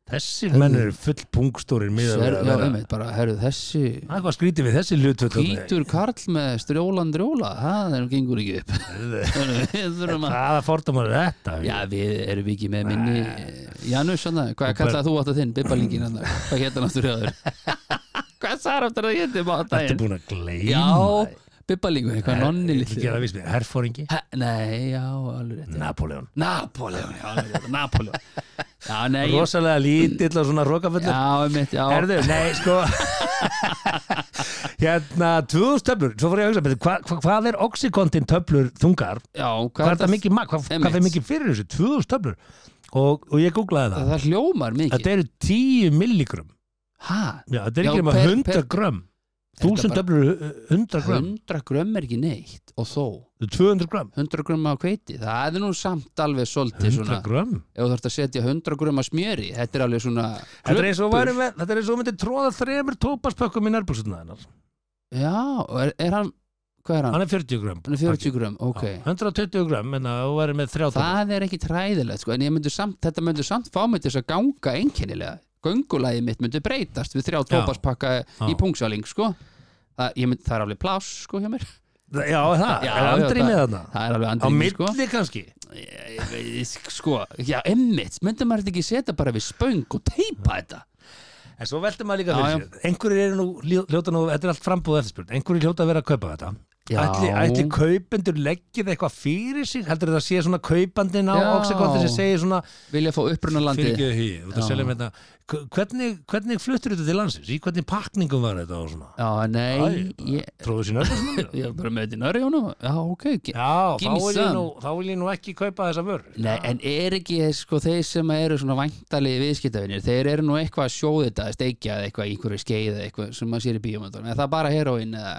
C: Þessir menn eru full punkstórir miðað við
D: Sver,
C: að
D: Já,
C: vera.
D: einmitt, bara, herðu, þessi
C: Það er hvað skrítið við þessi hlutvöld
D: hvítur karl með strjólan drjóla það er gengur ekki upp Við þurfum að
C: Hvaða fordómar er þetta?
D: hérna. Já, við erum við ekki með minni Janus, svona, hvað
C: Og
D: kallaði þú átt að þinn? Bibbalingin, hann, hvað hétt hann aftur höður? Hvað sagði aftur að hétti á
C: Þetta er
D: daginn?
C: búin að gleyma
D: Já, Bibbalingu, eitthvað nonni
C: Ekki
D: litli
C: gera vísbið, herfóringi
D: Ha, Nei, já, alveg rétt
C: Napoleon
D: Napoleon, já, alveg rétt, Napoleon Já, nei, ég-
C: Rosalega lítill og svona rokafullur
D: já, einmitt, já
C: Herðu, nei, sko Hérna, 2000 töflur Svo fór ég að hugsa, betur, hva, hva, hvað er oxykontin töflur þungar?
D: Já,
C: Hvað er það mikið magn? Hvað,
D: Einmitt.
C: hvað er mikið fyrir þessu? 2000 töflur Og, og ég googlaði það
D: Það hljómar mikið
C: Þetta eru 10 milligram
D: Hæ?
C: Já, þetta er
D: Já,
C: ekki nema
D: per-
C: 100
D: per-
C: gram 1000
D: Þetta bara-
C: töflur, er hu- 100 gram
D: 100 grömm er ekki neitt og þó
C: 200 gram
D: 100 grömm af hveiti, það er nú samt alveg svolítið
C: 100
D: svona
C: gram
D: ef þú þarfst að setja 100 grömm af smjöri þetta er alveg svona
C: Þetta er eins og væri með- þetta er eins og myndi tróða þremur tópaspökkum í nærbúrsutna hennar
D: Já, og er, er hann, hvað er hann?
C: Hann er 40 gram
D: Ah. Hann er 40 grömm, ok
C: Já, 120 gram, menna, og verið með 30
D: Það er ekki træðilegt sko, en ég myndi samt, þetta myndi samt fá mig til þess að ganga einkennilega Göngulæði mitt myndi breytast við þrjá tópaspakka í
C: Já.
D: pungsaling sko Það, ég myndi, það er alveg pláss sko hjá mér
C: Já, það,
D: Já,
C: er
D: já,
C: andri
D: það-
C: með þarna
D: Það er alveg
C: Á
D: andrými sko
C: milli kannski
D: Ég- ég- ég- sko, já, emmitt myndum maður þetta ekki setja bara við spöng og teipa þetta
C: En svo veltum maður líka
D: Já,
C: fyrir sér Einhverjir eru nú, ljó- hljóta nú, þetta er allt frambúð eftirspurn Einhverjir hljóta að vera að kaupa þetta
D: Já.
C: Ætli, ætli kaupendur leggið eitthvað fyrir sig Heldur það sé svona kaupandinn á
D: Já.
C: Oxycontin sem segir svona
D: vilja fá upprunalandi
C: Fyrirgeðu hugi, þú ert að
D: Já.
C: selja mér þetta K- Hvernig, hvernig fluttur þetta til landsins? Í hvernig pakningum var þetta og svona?
D: já, nei,
C: Æ,
D: ég,
C: Tróðu sér nörgum
D: ég er bara með þetta í nörjónum já, ok, ekki
C: Já, þá
D: Give me
C: vil, ég
D: some.
C: nú, þá vil ég nú ekki kaupa þessa vörur
D: Nei, en er ekki sko, þeir sem eru svona væntalegi viðskiptafinir, þeir eru nú eitthvað að sjóða þetta, að steikja eða eitthvað í einhverju skeið eða eitthvað sem maður sér í bíómyndunum, en það er bara heroin eða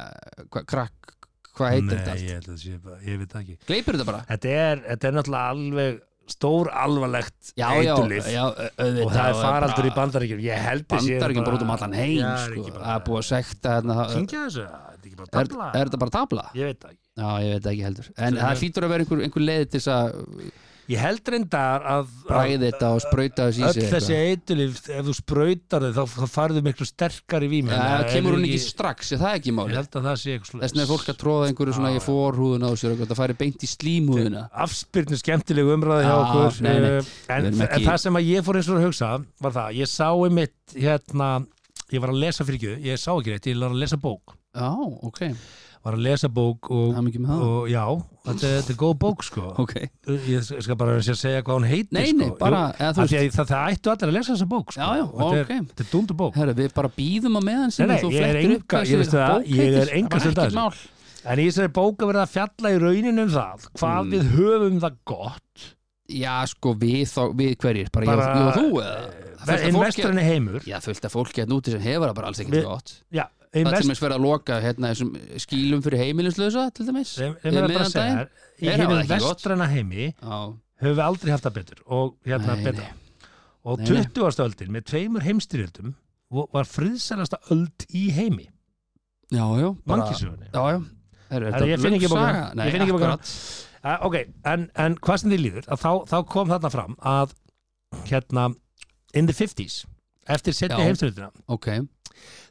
D: hva, krakk, hvað heitir þetta
C: Nei,
D: allt?
C: ég, held að það sé bara- ég veit það ekki
D: Gleipur þetta bara?
C: þetta er, þetta er náttúrulega alveg stór alvarlegt
D: Já, já,
C: eitulif
D: já, auðvitað.
C: og það er faraldur
D: bara-
C: í bandaríkjum ég held ég sé
D: Bandaríkjum bara út um allan heim,
C: Já, er
D: sko,
C: ekki bara-
D: það er búið að sekta hérna, það-
C: Kyngja þessu, það er ekki bara
D: er,
C: tabla
D: er þetta bara tabla?
C: ég veit það ekki
D: Já, ég veit það ekki heldur En
C: Þetta er-
D: það hlýtur að vera einhver, einhver leið til þess að
C: ég held reyndar að, að
D: bræði þetta og sprauta þess í sig
C: öll
D: eitthvað.
C: þessi eitulif ef þú sprautar þau þá, þá farðu miklu sterkari vími
D: Já,
C: Þannig að
D: kemur
C: ef
D: hún
C: ég
D: ekki strax, er það ekki
C: ég
D: máli
C: held að það sé eitthvað svoleiðis.
D: Þess vegna er fólk að tróða einhverju svona í forhúðuna og sér eitthvað, það færi beint í slímhúðuna
C: afspyrnu skemmtilegu umræði hjá
D: Já,
C: okkur
D: nei, nei,
C: eh, en,
D: við erum ekki-
C: en það sem að ég fór eins og að hugsa var það, ég sá einmitt hérna, ég var að lesa fyrir ekki, ég sá ekki rétt, ég var að lesa bók
D: Já, ok
C: var var að lesa bók og,
D: Hamingju með það.
C: og já, þetta, er- þetta er góð bók sko
D: Ok,
C: ég skal bara reyna að segja hvað hún heitir
D: Nei,
C: sko.
D: nei, bara-
C: Jú,
D: eða þú
C: af því að það, það ættu allir að lesa þessa bók sko.
D: Já, já,
C: Og þetta er,
D: ok.
C: þetta er dundu bók
D: herru, við bara býðum á meðan
C: Nei,
D: sem
C: nei,
D: þú
C: ég er
D: flettir upp
C: enga- ég
D: þessi
C: veist það,
D: bók
C: ég er
D: heitir.
C: enga
D: Það er
C: stund að
D: ekkert
C: þessu.
D: mál.
C: en í þessari bók að verða að fjalla í rauninu um það hvað
D: Mm.
C: við höfum það gott
D: Já, sko, við, þá, við hverjir, bara,
C: Bara,
D: ég, og- ég og þú eða? Það fullt af
C: en
D: fólki-
C: vestræni Eh, heimur
D: Já, fullt af fólki hérna úti sem hefur það bara alls ekkert
C: Við-
D: gott
C: já,
D: Það
C: ein
D: er til
C: vest
D: dæmis verið að loka hérna, þessum skýlum fyrir heimilinslösa til dæmis
C: sem sem
D: yfir
C: er að bara
D: miðjan
C: að segja í
D: daginn. Þeir hafa
C: hinum
D: það ekki gott.
C: vestræna heimi
D: Já,
C: höfum við aldrei haft það betur og hérna
D: Nei,
C: betra og
D: Nei, nei.
C: 20. öldin með tveimur heimstyrjöldum vo- var friðsælasta öld í heimi
D: já, já bara-
C: mannkísugunni
D: Já, já Heru,
C: Herra, ég finn ekki bókina.
D: Nei,
C: Ég finn ekki bókina.
D: akkurat
C: Eh, ok, en, en hvað sem þið líður að þá, þá kom þarna fram að hérna, in the 50s eftir setni
D: Já.
C: heimstyrjöldina
D: Ok, er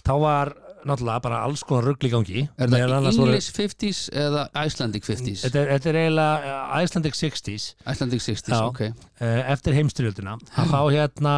C: þá var náttúrulega bara alls konar rugl í gangi Meðal
D: það
C: annars voru-
D: English 50s eða Icelandic 50s
C: þetta er, þetta er eiginlega eh, Icelandic 60s
D: Icelandic 60s,
C: Já.
D: ok
C: eh, eftir heimstyrjöldina að þá hérna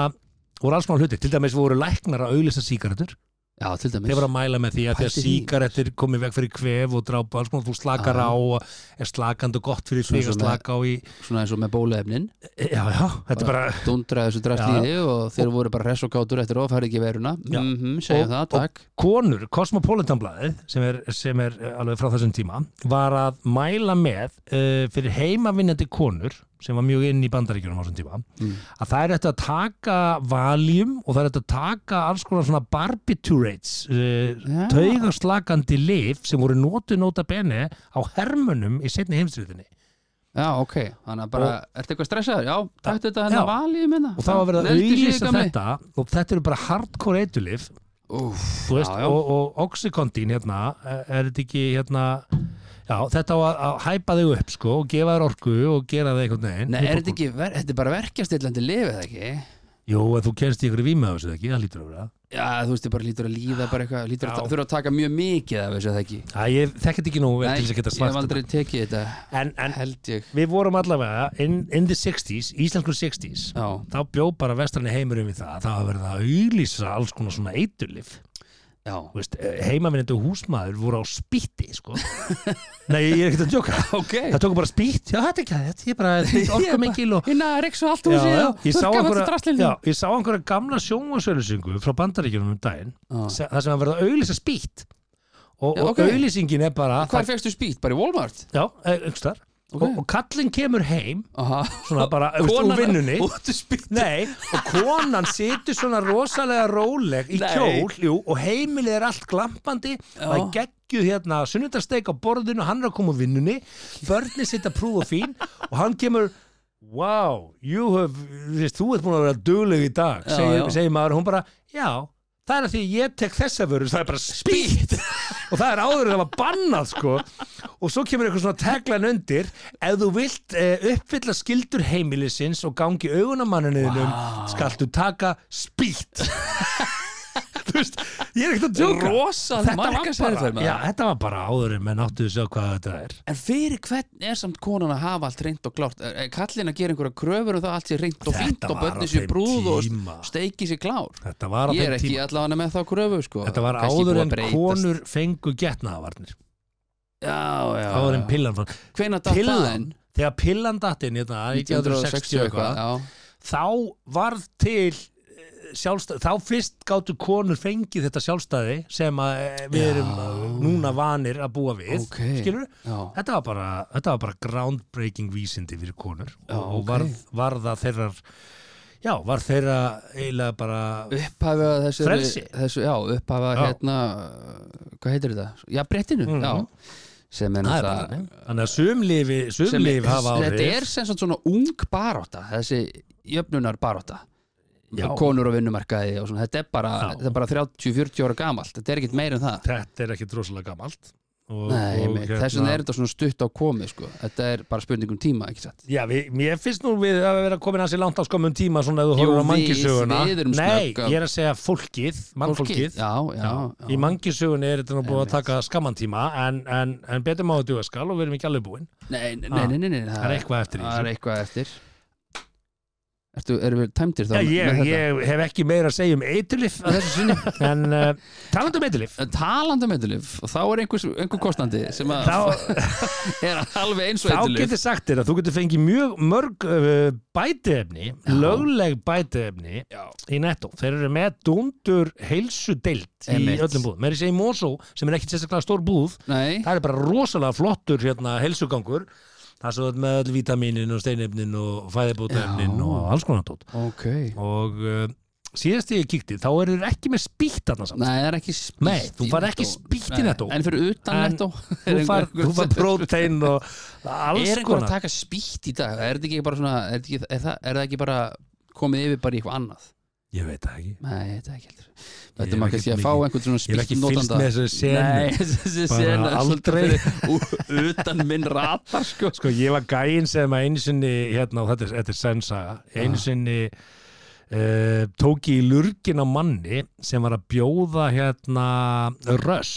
C: voru alls konar hluti til dæmis voru læknar að auglýsa sígarettur
D: Já, til dæmis
C: þeir voru að mæla með því að því að
D: Pældi því.
C: sígarettur komið veg fyrir kvef og drápa alls konar þú slakar
D: Já.
C: á og er slakandi og gott fyrir
D: Svona
C: því að
D: Ah. sem
C: slaka á í
D: Svona eins og með bólaefnin
C: já já, þetta er bara
D: Dundraði þessu drast
C: Já.
D: í þig og þeir voru bara hress og gátur eftir ofærið ekki veruna
C: Já.
D: mm -hmm, Segjum
C: Og-
D: það,
C: og-
D: takk
C: konur, Cosmopolitan blaðið sem er, sem er eh, alveg frá þessum tíma var að mæla með uh, fyrir heimavinnandi konur sem var mjög inn í bandaríkjunum á þessum tíma
D: Mm.
C: að það er eftir að taka valjum og það er eftir að taka alls konar svona barbiturates uh,
D: Já.
C: taugaslakandi lif sem voru notu nota bene á hermunum í setni heimstriðinni
D: Já, ok, þannig að bara, ertu eitthvað stressaður? Já, takk þetta
C: Já.
D: hennar valið minna
C: og það var verið að auðlýsa þetta og þetta eru bara hardcore eitulif
D: Úf,
C: Þú veist,
D: já, já.
C: Og, og Oxycontin hérna, er er þetta ekki hérna já, þetta á að, að hæpa þig upp sko, og gefa þér orku og gera þig einhvern veginn
D: Nei, er þetta ekki, ver, þetta er bara verkjastillandi lifið eða ekki?
C: Jú, að þú kennst í ykkur víma þessu ekki, það lítur að vera
D: Já, þú veist, ég bara lítur að líða bara eitthvað, lítur að
C: Já.
D: ta- þurfa að taka mjög mikið af þessu eða ekki?
C: Æ, ég þekki þetta ekki nú vel til þess að geta
D: ég hef
C: svart
D: aldrei tekið þetta,
C: þetta. en, en
D: held ég.
C: við vorum allavega in, in the 60s, íslensku 60s
D: Já,
C: þá bjó bara vestrani heimurum við það það var verið að auglýsa alls konar svona eitulif
D: já.
C: Þú veist, heimavinnandi húsmaður voru á spýtti sko. nei, ég er ekkert að djóka
D: Ok.
C: það tóku bara spýtt, já þetta er ekki þetta ég bara, þetta er orku mikil og
D: Hina, reyks og allt
C: Já,
D: húsið
C: já.
D: og
C: Ég sá
D: þurrka með
C: einhverja-
D: þetta drastlinn.
C: já, ég sá einhverja gamla sjónvarsölusingu frá bandaríkjunum um daginn
D: Já.
C: se- þar sem hann verið að auglýsa spýtt og,
D: Já,
C: og
D: ok.
C: auglýsingin er bara
D: Hvar fegstu spýt? Bara í Walmart?
C: já, einhverstar
D: Ok.
C: og, og kallinn kemur heim
D: Aha.
C: svona bara veist, úr vinnunni
D: Útu spýt.
C: Nei, og konan situr svona rosalega róleg í
D: Nei.
C: kjól jú, og heimilið er allt glampandi það er geggjuð hérna sunnudarsteik á borðinu, hann er að koma úr vinnunni börni sita prúð og fín og hann kemur Wow, you have, þú veist, þú ert búin að vera dugleg í dag,
D: Já,
C: segir,
D: já.
C: segir maður hún bara, já, það er að því ég tek þessa vöru, það er bara spýtt og það er áður en það var bannað sko. og svo kemur eitthvað svona teglan undir ef þú vilt eh, uppfylla skildur heimilisins og gangi augunamanninuðinum, wow. skaltu taka spýtt þú veist, ég er ekkert að djóka
D: Rosa
C: þetta var,
D: markasherferð,
C: bara,
D: maður.
C: já, þetta var bara áður en menn áttu þess að hvað þetta er
D: En fyrir hvern er samt konan að hafa allt reynd og klárt? Er er kallinn að gera einhverja kröfur og það allt sé reynd og
C: Þetta
D: fínt og
C: var á
D: börnir sér
C: þeim
D: brúð og
C: tíma.
D: steiki sér klár?
C: þetta var á
D: Ég er
C: þeim
D: ekki
C: tíma
D: allavega með þá kröfu sko.
C: þetta var
D: Kannski
C: áður
D: búið að
C: en
D: breytast.
C: konur fengu getnaðavarnir
D: Já, já,
C: áður
D: já.
C: en pillan fann
D: Hvenær datt það
C: Pillan?
D: inn?
C: þegar pillan hérna, dattinn 1960 eitthvað
D: já.
C: þá varð til sjálfstæði, þá fyrst gáttu konur fengið þetta sjálfstæði sem að eh, við
D: Já.
C: erum eh, núna vanir að búa við
D: Ok.
C: skilur,
D: Já.
C: þetta var bara þetta var bara groundbreaking vísindi fyrir konur
D: Já,
C: og
D: ok.
C: varð, varða þeirra já, varð þeirra eiginlega bara
D: Upphafið að þessu
C: Frelsi.
D: þessu, Já, upphafið að
C: Já.
D: hérna uh, Hvað heitir þetta? Já, brettinu
C: Mhm.
D: Já sem er
C: Það er bara
D: náttúrulega-
C: þannig. þannig að sumlifi
D: sem er-
C: sumlif hafa
D: þetta er
C: áhrif
D: sem sagt svona ung baróta þessi jöfnunar baróta
C: Já.
D: konur og vinnumarkaði og svona, þetta er bara,
C: Já.
D: þetta er bara 30-40 ára gamalt þetta er ekkert meir en það
C: þetta er ekkit rosalega gamalt og,
D: Nei,
C: og
D: og,
C: hérna-
D: þess vegna er þetta svona stutt á komi sko. þetta er bara spurning um tíma ekki satt
C: Já, við, mér finnst nú við að vera komin hans í langt á skömmun tíma svona ef þú
D: Jú,
C: horfur á
D: við-
C: mangisöguna
D: við erum
C: Nei,
D: snögg að-
C: ég er að segja fólkið, mannfólkið
D: já, já, já.
C: Í mangisögunni er þetta nú búið að
D: Einmitt.
C: taka skamman tíma en, en, en betur má að duga skal og við erum ekki alveg búin
D: nei, nei, nei, nei, nei, nei,
C: Það er eitthvað eftir í
D: það er
C: þessu
D: eitthvað eftir Ertu, erum við tæmdir
C: Já,
D: þá með- með
C: ég,
D: þetta?
C: ég hef ekki meira að segja um eiturlif að þessu sinni, en uh, talandi um eiturlif
D: talandi um eitulif og þá er einhver, einhver kostandi sem að
C: þá,
D: er alveg eins og
C: þá
D: eitulif
C: getur sagt þér að þú getur fengið mjög mörg uh, bætiefni, lögleg bætiefni í netto. Þeir eru með dundur heilsu deilt í
D: Einmitt.
C: öllum búð. Mér er að segja í Mosó, sem er ekkit sérstaklega stór búð,
D: Nei,
C: það er bara rosalega flottur hérna, heilsugangur. Það er svo með öll vitaminin og steinefnin og fæðibótaefnin
D: Já.
C: og alls konar tótt.
D: ok
C: Og uh, síðast ég kíkti, þá eru þeir ekki með spýtt þarna samt.
D: Nei, það er ekki spýtt
C: Nei, þú
D: í
C: færð
D: Netto.
C: ekki spýtt í
D: Nei,
C: Netto.
D: En fyrir utan
C: En
D: netto
C: Þú far, þú far prótein og
D: Er
C: alls
D: einhver að
C: konar.
D: taka spýtt í dag? Er þetta ekki bara svona Er, þetta ekki, er, það, er það ekki bara komið yfir bara í eitthvað annað?
C: Ég veit það ekki.
D: Nei, þetta er ekki heldur
C: Ég
D: Þetta
C: hef
D: maður
C: ekkert
D: kannski að
C: mikið-
D: fá einhvern
C: Ég
D: svona
C: hef
D: spýtt
C: ekki fylst
D: notanda
C: með þessu senu.
D: Nei, þessi
C: Bara
D: sena er svolítið
C: aldrei.
D: fyrir u- Utan minn ratar sko
C: Sko, ég var gæinn sem að einu sinni, hérna, og þetta er, þetta er sensaga, einu sinni uh, tók ég í lurgin á manni sem var að bjóða, hérna, röss.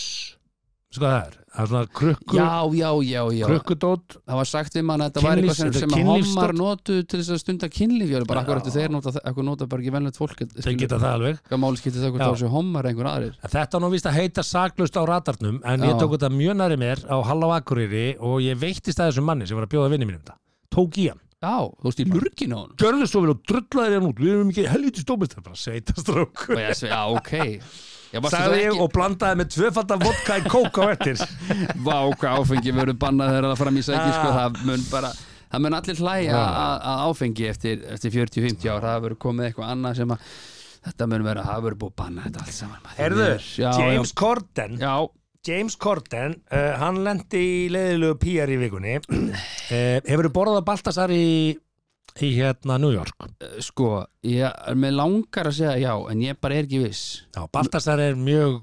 C: Sko það er, það er svona krukku,
D: Já, já, já, já
C: krukkudót.
D: Það var sagt við mann að þetta var
C: Kynlífs-
D: eitthvað sem,
C: þetta er
D: sem að hommar
C: kynlífsstofn.
D: notu til þess að stunda kynlíf Ég er bara
C: Já.
D: akkur eftir þeir nota, akkur nota bara ekki velnett fólk
C: Þeir
D: skilur.
C: geta það alveg.
D: Hvað máli skiptir það hvort
C: Já.
D: það séu hommar einhver aðrir
C: En Þetta er nú víst að heita saklust á ratarnum en ég
D: Já.
C: tók þetta mjög næri mér á Halla á Akureyri og ég veittist að þessum manni sem var að bjóða vinni mínum um þetta. Tók í hann.
D: Já, þú veist í lurgin á honum
C: Gjörðu svo vel og drullaði hann út. Við erum ekki helviti stómist. Það er bara sveitastrók.
D: Og ég segi, Já, ok Já, varstu
C: Sagði
D: það
C: ég
D: ekki-
C: og blandaði með tvöfaldar vodka í kók á eftir.
D: Vá, hvað áfengi verður bannað þegar það fram í sæki
C: Ah.
D: sko, það mun bara Það mun allir hlæja að að áfengi eftir, eftir 40-50 ár, það verður komið eitthvað annað sem að þetta mun vera, það verður búið að banna þetta allt saman. maður.
C: Herðu,
D: Já,
C: James Corden,
D: Já, já,
C: James Corden, uh, hann lendi í leiðilegu PR í vikunni. Uh, hefur borðað Baltasar í, í hérna New York?
D: sko, ég, mér langar að segja já, en ég bara er ekki viss.
C: Já, Baltasar er mjög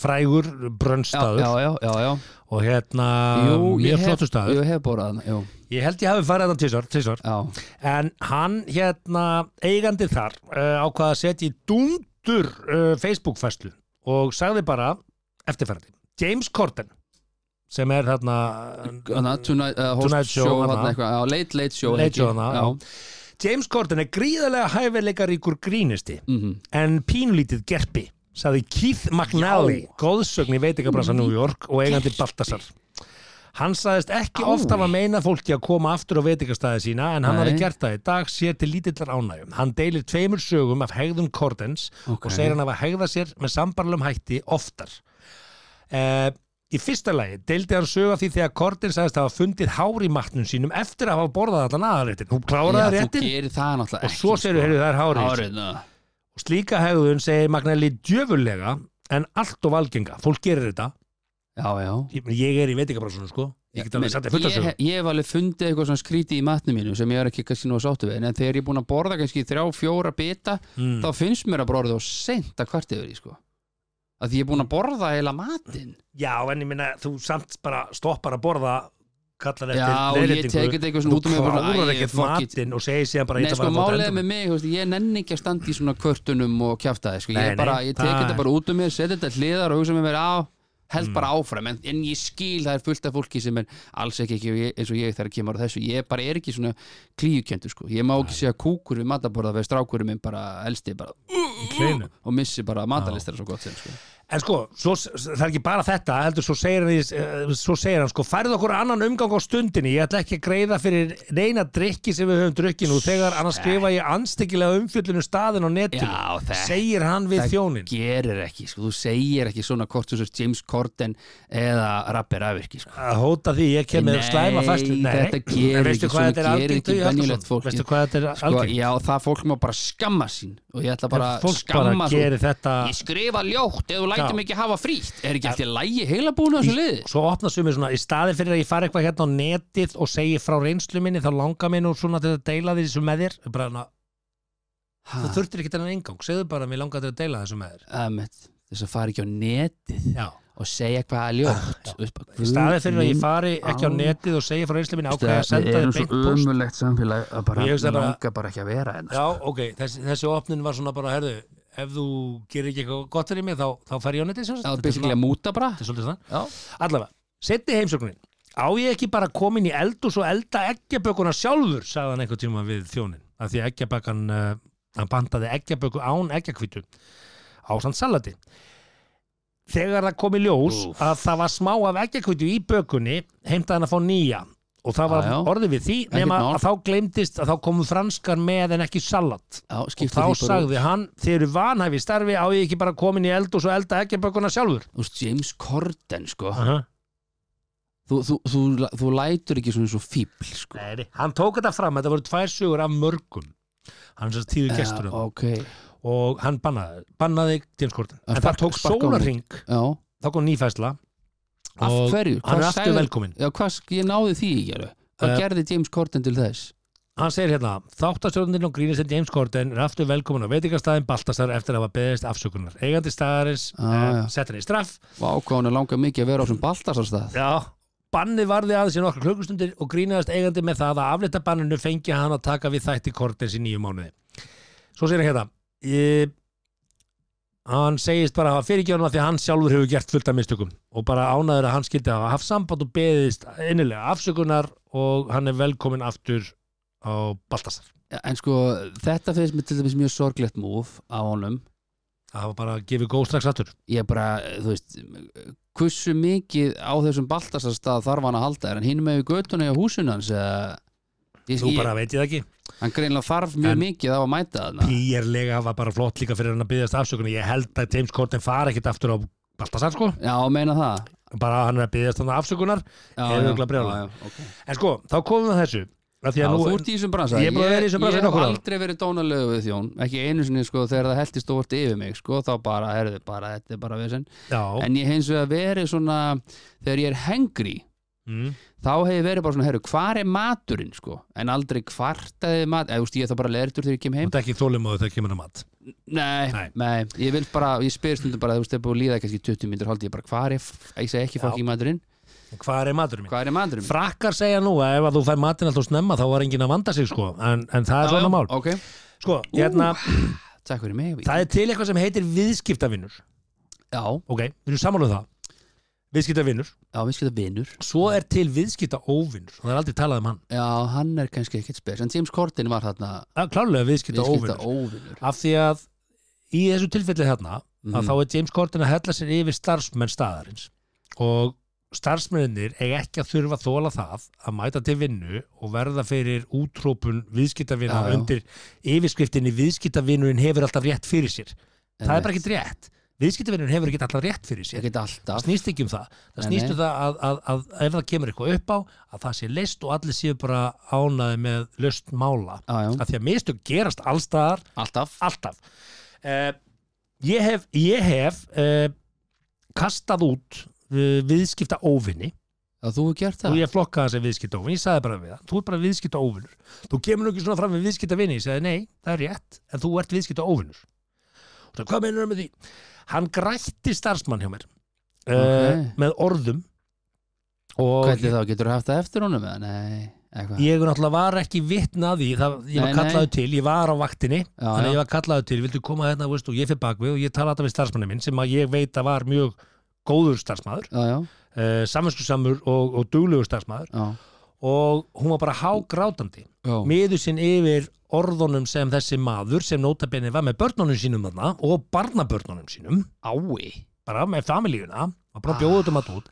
C: frægur
D: Já,
C: brönnstaður.
D: já, já, já, já.
C: og hérna
D: ég
C: mjög
D: hef-
C: flottur staður
D: Ég hef borðað hana, jú,
C: ég held ég hafi farið þetta tísar, tísar.
D: já.
C: en hann hérna eigandi þar uh, ákvaða að setja í dundur uh, Facebook-fæslu og sagði bara eftirferði James Corden sem er þarna
D: Þannig að Tonight, uh,
C: Tonight
D: host
C: Show,
D: show,
C: hana.
D: hana eitthvað, já, Late Late Show.
C: Late
D: ekki?
C: Show, hana,
D: Já,
C: James Corden er gríðarlega hæfileikaríkur grínisti
D: mhm.
C: en pínlítið gerpi sagði Keith McNally góðsögn í veitingabransa New York og eigandi Baltasar hann sagðist ekki
D: Ái.
C: ofta að meina fólki að koma aftur á veitingastæði sína en hann
D: Nei.
C: hafi gert það í dag sér til lítillar ánægjum hann deilir tveimur sögum af hegðun Cordens
D: Ok.
C: og segir hann hafa hegða sér með sambarlum hætti oftar eh, í fyrsta lagi deildi hann sög af því þegar Corden sagðist hafa fundið hár í matnum sínum eftir að hafa borðað allan aðaréttin hún kláraði
D: Já, þú
C: réttin
D: gerir það náttúrulega sko.
C: og svo segir hann það er hárið
D: Árið, na.
C: og slíka hegðun segir Magnelli djöfurlega en allt og valgenga, fólk gerir þetta
D: Já, já.
C: ég, ég er í veitingabrásunum sko ég get alveg
D: Men
C: satt að fulla
D: ég,
C: sig
D: ég hef alveg fundið eitthvað svona skríti í matnum mínu sem ég er ekki kannski nú að sáttu við en þegar ég er búin að borða kannski þrjá, fjóra bita
C: Mm.
D: þá finnst mér að borða og sent að kvart yfir því sko að því ég er búin að borða heila matinn
C: já, en ég minna, þú samt bara stoppar að borða kallar
D: Já, og
C: eftir
D: ég
C: leiðréttingu.
D: tek þetta eitthvað svona út
C: þú
D: um mig, bara, æ,
C: klárar ekkert
D: fuck it.
C: matinn og segir síðan bara
D: Nei,
C: "Þetta
D: sko,
C: var að fá
D: málega
C: þetta
D: með mig, þú veist, ég nenni ekki að standa í svona kvörtunum og kjafta sko.
C: Nei,
D: ég,
C: nei,
D: er bara, ég tek
C: það-
D: þetta bara út um mér, setja þetta til hliðar og hugsa með mér á held
C: Mm.
D: bara áfram, en, en ég skil það er fullt af fólki sem er alls ekki, ekki ég- eins og ég þegar kemur á þessu, ég bara er ekki svona klíukendur sko, ég má ekki segja kúkur við mataborða þegar strákurinn minn bara elsti bara
C: í kleinum."
D: og missi bara matalistar svo gott sem sko.
C: en sko, svo, það er ekki bara þetta heldur, svo segir hann, í- eh, svo segir hann sko, færðu okkur annan umgang á stundinni ég ætla ekki að greiða fyrir neina drikki sem við höfum drukkin og þegar annars skrifa ég anstekkilega umfyllunum staðin á netinu
D: Já, þetta-
C: segir hann við þjónin
D: gerir ekki, sko, þú segir ekki svona hvort þú sérst James Corden eða Rappi Rafirki sko.
C: að hóta því ég kem með
D: Nei,
C: slæma fæslu En
D: þetta gerir ekki,
C: veistu hvað
D: svona
C: þetta er
D: gerir
C: algengt
D: ekki
C: Hugi Hallgrímsson?
D: venjulegt fólk.
C: veistu hvað þetta er
D: sko,
C: algengt
D: já, það fólk má bara skamma sín og ég ætla bara að
C: fólk bara
D: skamma svo-
C: gerir þetta
D: Ég skrifa ljótt ef þú
C: Já.
D: lætum ekki hafa frítt Er ekki allt í lægi heila búin að þessu liði?
C: svo opna sumir svona, í staði fyrir að ég fara eitthvað hérna á netið og segi frá reynslu minni þá langar mér nú svona til að deila því sem með þér bara, na,
D: Ah.
C: þú þurftir ekki þennan engang segðu bara að mér langar til að deila þessu með þér
D: Æmitt, þess að fara ekki á netið
C: já,
D: og segja hvað er ljótt Þú veist bara,
C: í staði fyrir að ég
D: guð
C: fari ekki á
D: Á.
C: netið og segi frá reynslu minni
D: minn,
C: ákveða að senda þér beint post
D: ömulegt samfélag að
C: Ég hugsa
D: mig
C: bara-
D: bara ekki að vera hérna
C: já, ok, þessi, þessi opnin var svona bara, herðu ef þú gerir ekki eitthvað gott fyrir mig þá, þá fer ég á netið sem sagt.
D: Það er
C: Þetta er
D: basically að
C: svona-
D: múta bara
C: þetta er svolítið það
D: Já,
C: Allavega, setni heimsóknin Á ég ekki bara komin í eldús og elda eggjabökuna sjálfur sagði hann einhvern tíma við þjónin af því að eggjabakkan uh, hann pantaði eggjaböku án eggjakvítu á samt salati þegar það kom í ljós
D: Úff.
C: að það var smá af eggjakvítu í bökunni heimtaði hann að fá nýja og það var
D: Já, já.
C: orðið við því nema
D: mál.
C: að þá glemdist að þá komu franskar með en ekki salat
D: Já,
C: og
D: skipta
C: þá
D: því bara út.
C: sagði hann, þið eru vanhæfi í starfi á ég ekki bara komin í eld og svo elda eggjabökuna sjálfur
D: Þú veist, James Corden, sko
C: uh -huh.
D: þú, þú, þú, þú lætur ekki svona svo fíbl, sko
C: Nei, nei, hann tók þetta fram, þetta voru tvær sögur af mörgum hann sem sagt tíðu gestur um
D: Já, ok
C: og hann bannaði, bannaði James Corden
D: Að
C: en það
D: sparka-
C: tók
D: sparka honum.
C: sólarring,
D: Já,
C: þá kom nýfæsla
D: af
C: Og
D: hverju?
C: hann
D: Hvað
C: er aftur
D: sagði-
C: velkomin
D: Já, hvað, sk- ég náði því ekki alveg Hvað
C: Eh,
D: gerði James Corden til þess?
C: hann segir hérna, þáttastjórnir og grínistinn James Corden er aftur velkomin á veitingastæðin Baltasar eftir að hafa beðist afsökunar eigandi staðarins,
D: Ah,
C: ah,
D: já.
C: sett henni í straff
D: Vá, hvað hann er langað mikið að vera á sem Baltasarstað
C: Já, bannið varði aðeins í nokkra klukkustundir og grínaðist eigandi með það að aflita banninu fengi hann að taka við þætti Cortez í nýju mánuði. Svo segir hann hérna, ég, hann segist bara að hafa fyrirgjónum að því að hann sjálfur hefur gert fullt af mistökum og bara ánaður að hann skildi að hafa haft samband og beðist innilega afsökunar og hann er velkomin aftur á Baltasar.
D: En sko, þetta finnst mér til dæmis mjög sorglegt múf á honum
C: Það hafa bara gefið góð strax aftur.
D: Ég bara, þú veist Hversu mikið á þessum Baltasarstað þarf hann að halda Er hann hinum með göttuna hjá húsinu hans eða Ég,
C: Nú
D: ég,
C: bara veit ég það ekki.
D: hann greinlega þarf mjög
C: En-
D: mikið á að mæta þarna
C: Pýjarlega var bara flott líka fyrir hann að beðast afsökunar. Ég held að James Corden fara ekkit aftur á Baltasar sko.
D: Já, meina það
C: bara hann er að byggja stanna afsökunar
D: Já,
C: Hefur
D: já,
C: örugglega brjálað.
D: já, já, ok.
C: en sko, þá komum við að þessu að því
D: Já,
C: að
D: þú
C: nú,
D: ert í þessum bransa
C: Ég er búin að vera í þessum bransa í
D: Ég hef
C: nokkur ár.
D: aldrei verið dónalegu við þjón Ekki einu sinni sko þegar það heltist stórt yfir mig sko Þá bara, herðu bara, þetta er bara vesen
C: já,
D: En ég hef eins vegar verið svona Þegar ég er hengri
C: mm,
D: Þá hef ég verið bara svona, herru, hvar er maturinn sko En aldrei kvartaði mat Eða, þú veist, ég er það bara leirtur þegar ég kem
C: þú
D: heim
C: ert ekki þólimaðu þegar kemur að mat
D: Nei,
C: Nei.
D: nei, ég vil bara, ég spyr stundum bara Þú veist, það er búið að líða kannski 20 myndir Haldi ég bara, hvar er, ég segi ekki
C: Já.
D: fokki maturinn
C: En hvað er maturinn minn?
D: Hvar er maturinn?
C: frakkar segja nú að ef að þú fær matinn alltaf snemma þá var enginn að vanda sig sko en, en það er
D: Já, já,
C: svona mál
D: ok.
C: sko, hérna,
D: Takk fyrir mig
C: það er til eitthvað sem heitir viðskiptavinnur
D: Já,
C: ok, við erum sammáluð það viðskiptavinnur,
D: já, við skilta vinur
C: svo er til viðskiptaóvinnur og það er aldrei talað um hann
D: Já, hann er kannski ekkert spes En James Corden var þarna
C: Það er klárlega
D: viðskipta
C: viðskiptaóvinnur
D: óvinnur
C: af því að í þessu tilfelli hérna
D: Mhm.
C: að þá er James Corden að hella sér yfir starfsmenn staðarins og starfsmennir eiga ekki að þurfa að þóla það að mæta til vinnu og verða fyrir útrópun viðskiptavina
D: Já, já.
C: undir yfirskriftinni viðskiptavinurinn hefur alltaf rétt fyrir sér það er
D: Einmitt.
C: bara ekkert rétt viðskiptavinurinn hefur ekki alltaf rétt fyrir sér
D: Ekkert
C: það
D: alltaf
C: snýst ekki um það það
D: Nei,
C: snýst
D: nei.
C: um það að, að, að ef það kemur eitthvað upp á að það sé list og allir séu bara ánaði með löst mála
D: Já, já,
C: að því að mistök gerast allstaðar
D: alltaf
C: alltaf uh, ég hef, ég hef uh, kastað út uh, viðskipta óvinni
D: Já, þú hefur gert
C: og
D: það
C: ég flokkaði þessi viðskipta óvinni, ég sagði bara við það þú ert bara viðskipta óvinnur, þú kemur nú ekki svona fram við viðskipta vinni, ég sagði nei, það er rétt en þú ert viðskipta óvinnur og það, hvað meinar með því? hann grætti starfsmann hjá mér uh,
D: Ok.
C: með orðum og
D: Hvernig þá, getur þú haft það eftir honum eða? Nei, eitthvað
C: ég náttúrulega var ekki vitna að því það, ég var
D: Nei, nei.
C: kallaðu til, ég var á vaktinni
D: Já,
C: þannig að
D: já.
C: ég var kallaðu til, viltu koma hérna veist, og ég fyrir bakvið og ég tala alltaf við starfsmanni minn sem að ég veit að var mjög góður starfsmæður
D: Já, já,
C: uh, samanskursamur og, og duglegur starfsmæður
D: já,
C: og hún var bara hágrátandi
D: já.
C: miður sinn yfir orðunum sem þessi maður sem notabenni var með börnunum sínum þarna og barnabörnunum sínum
D: Ái
C: bara með familíuna var bara bjóðut um að út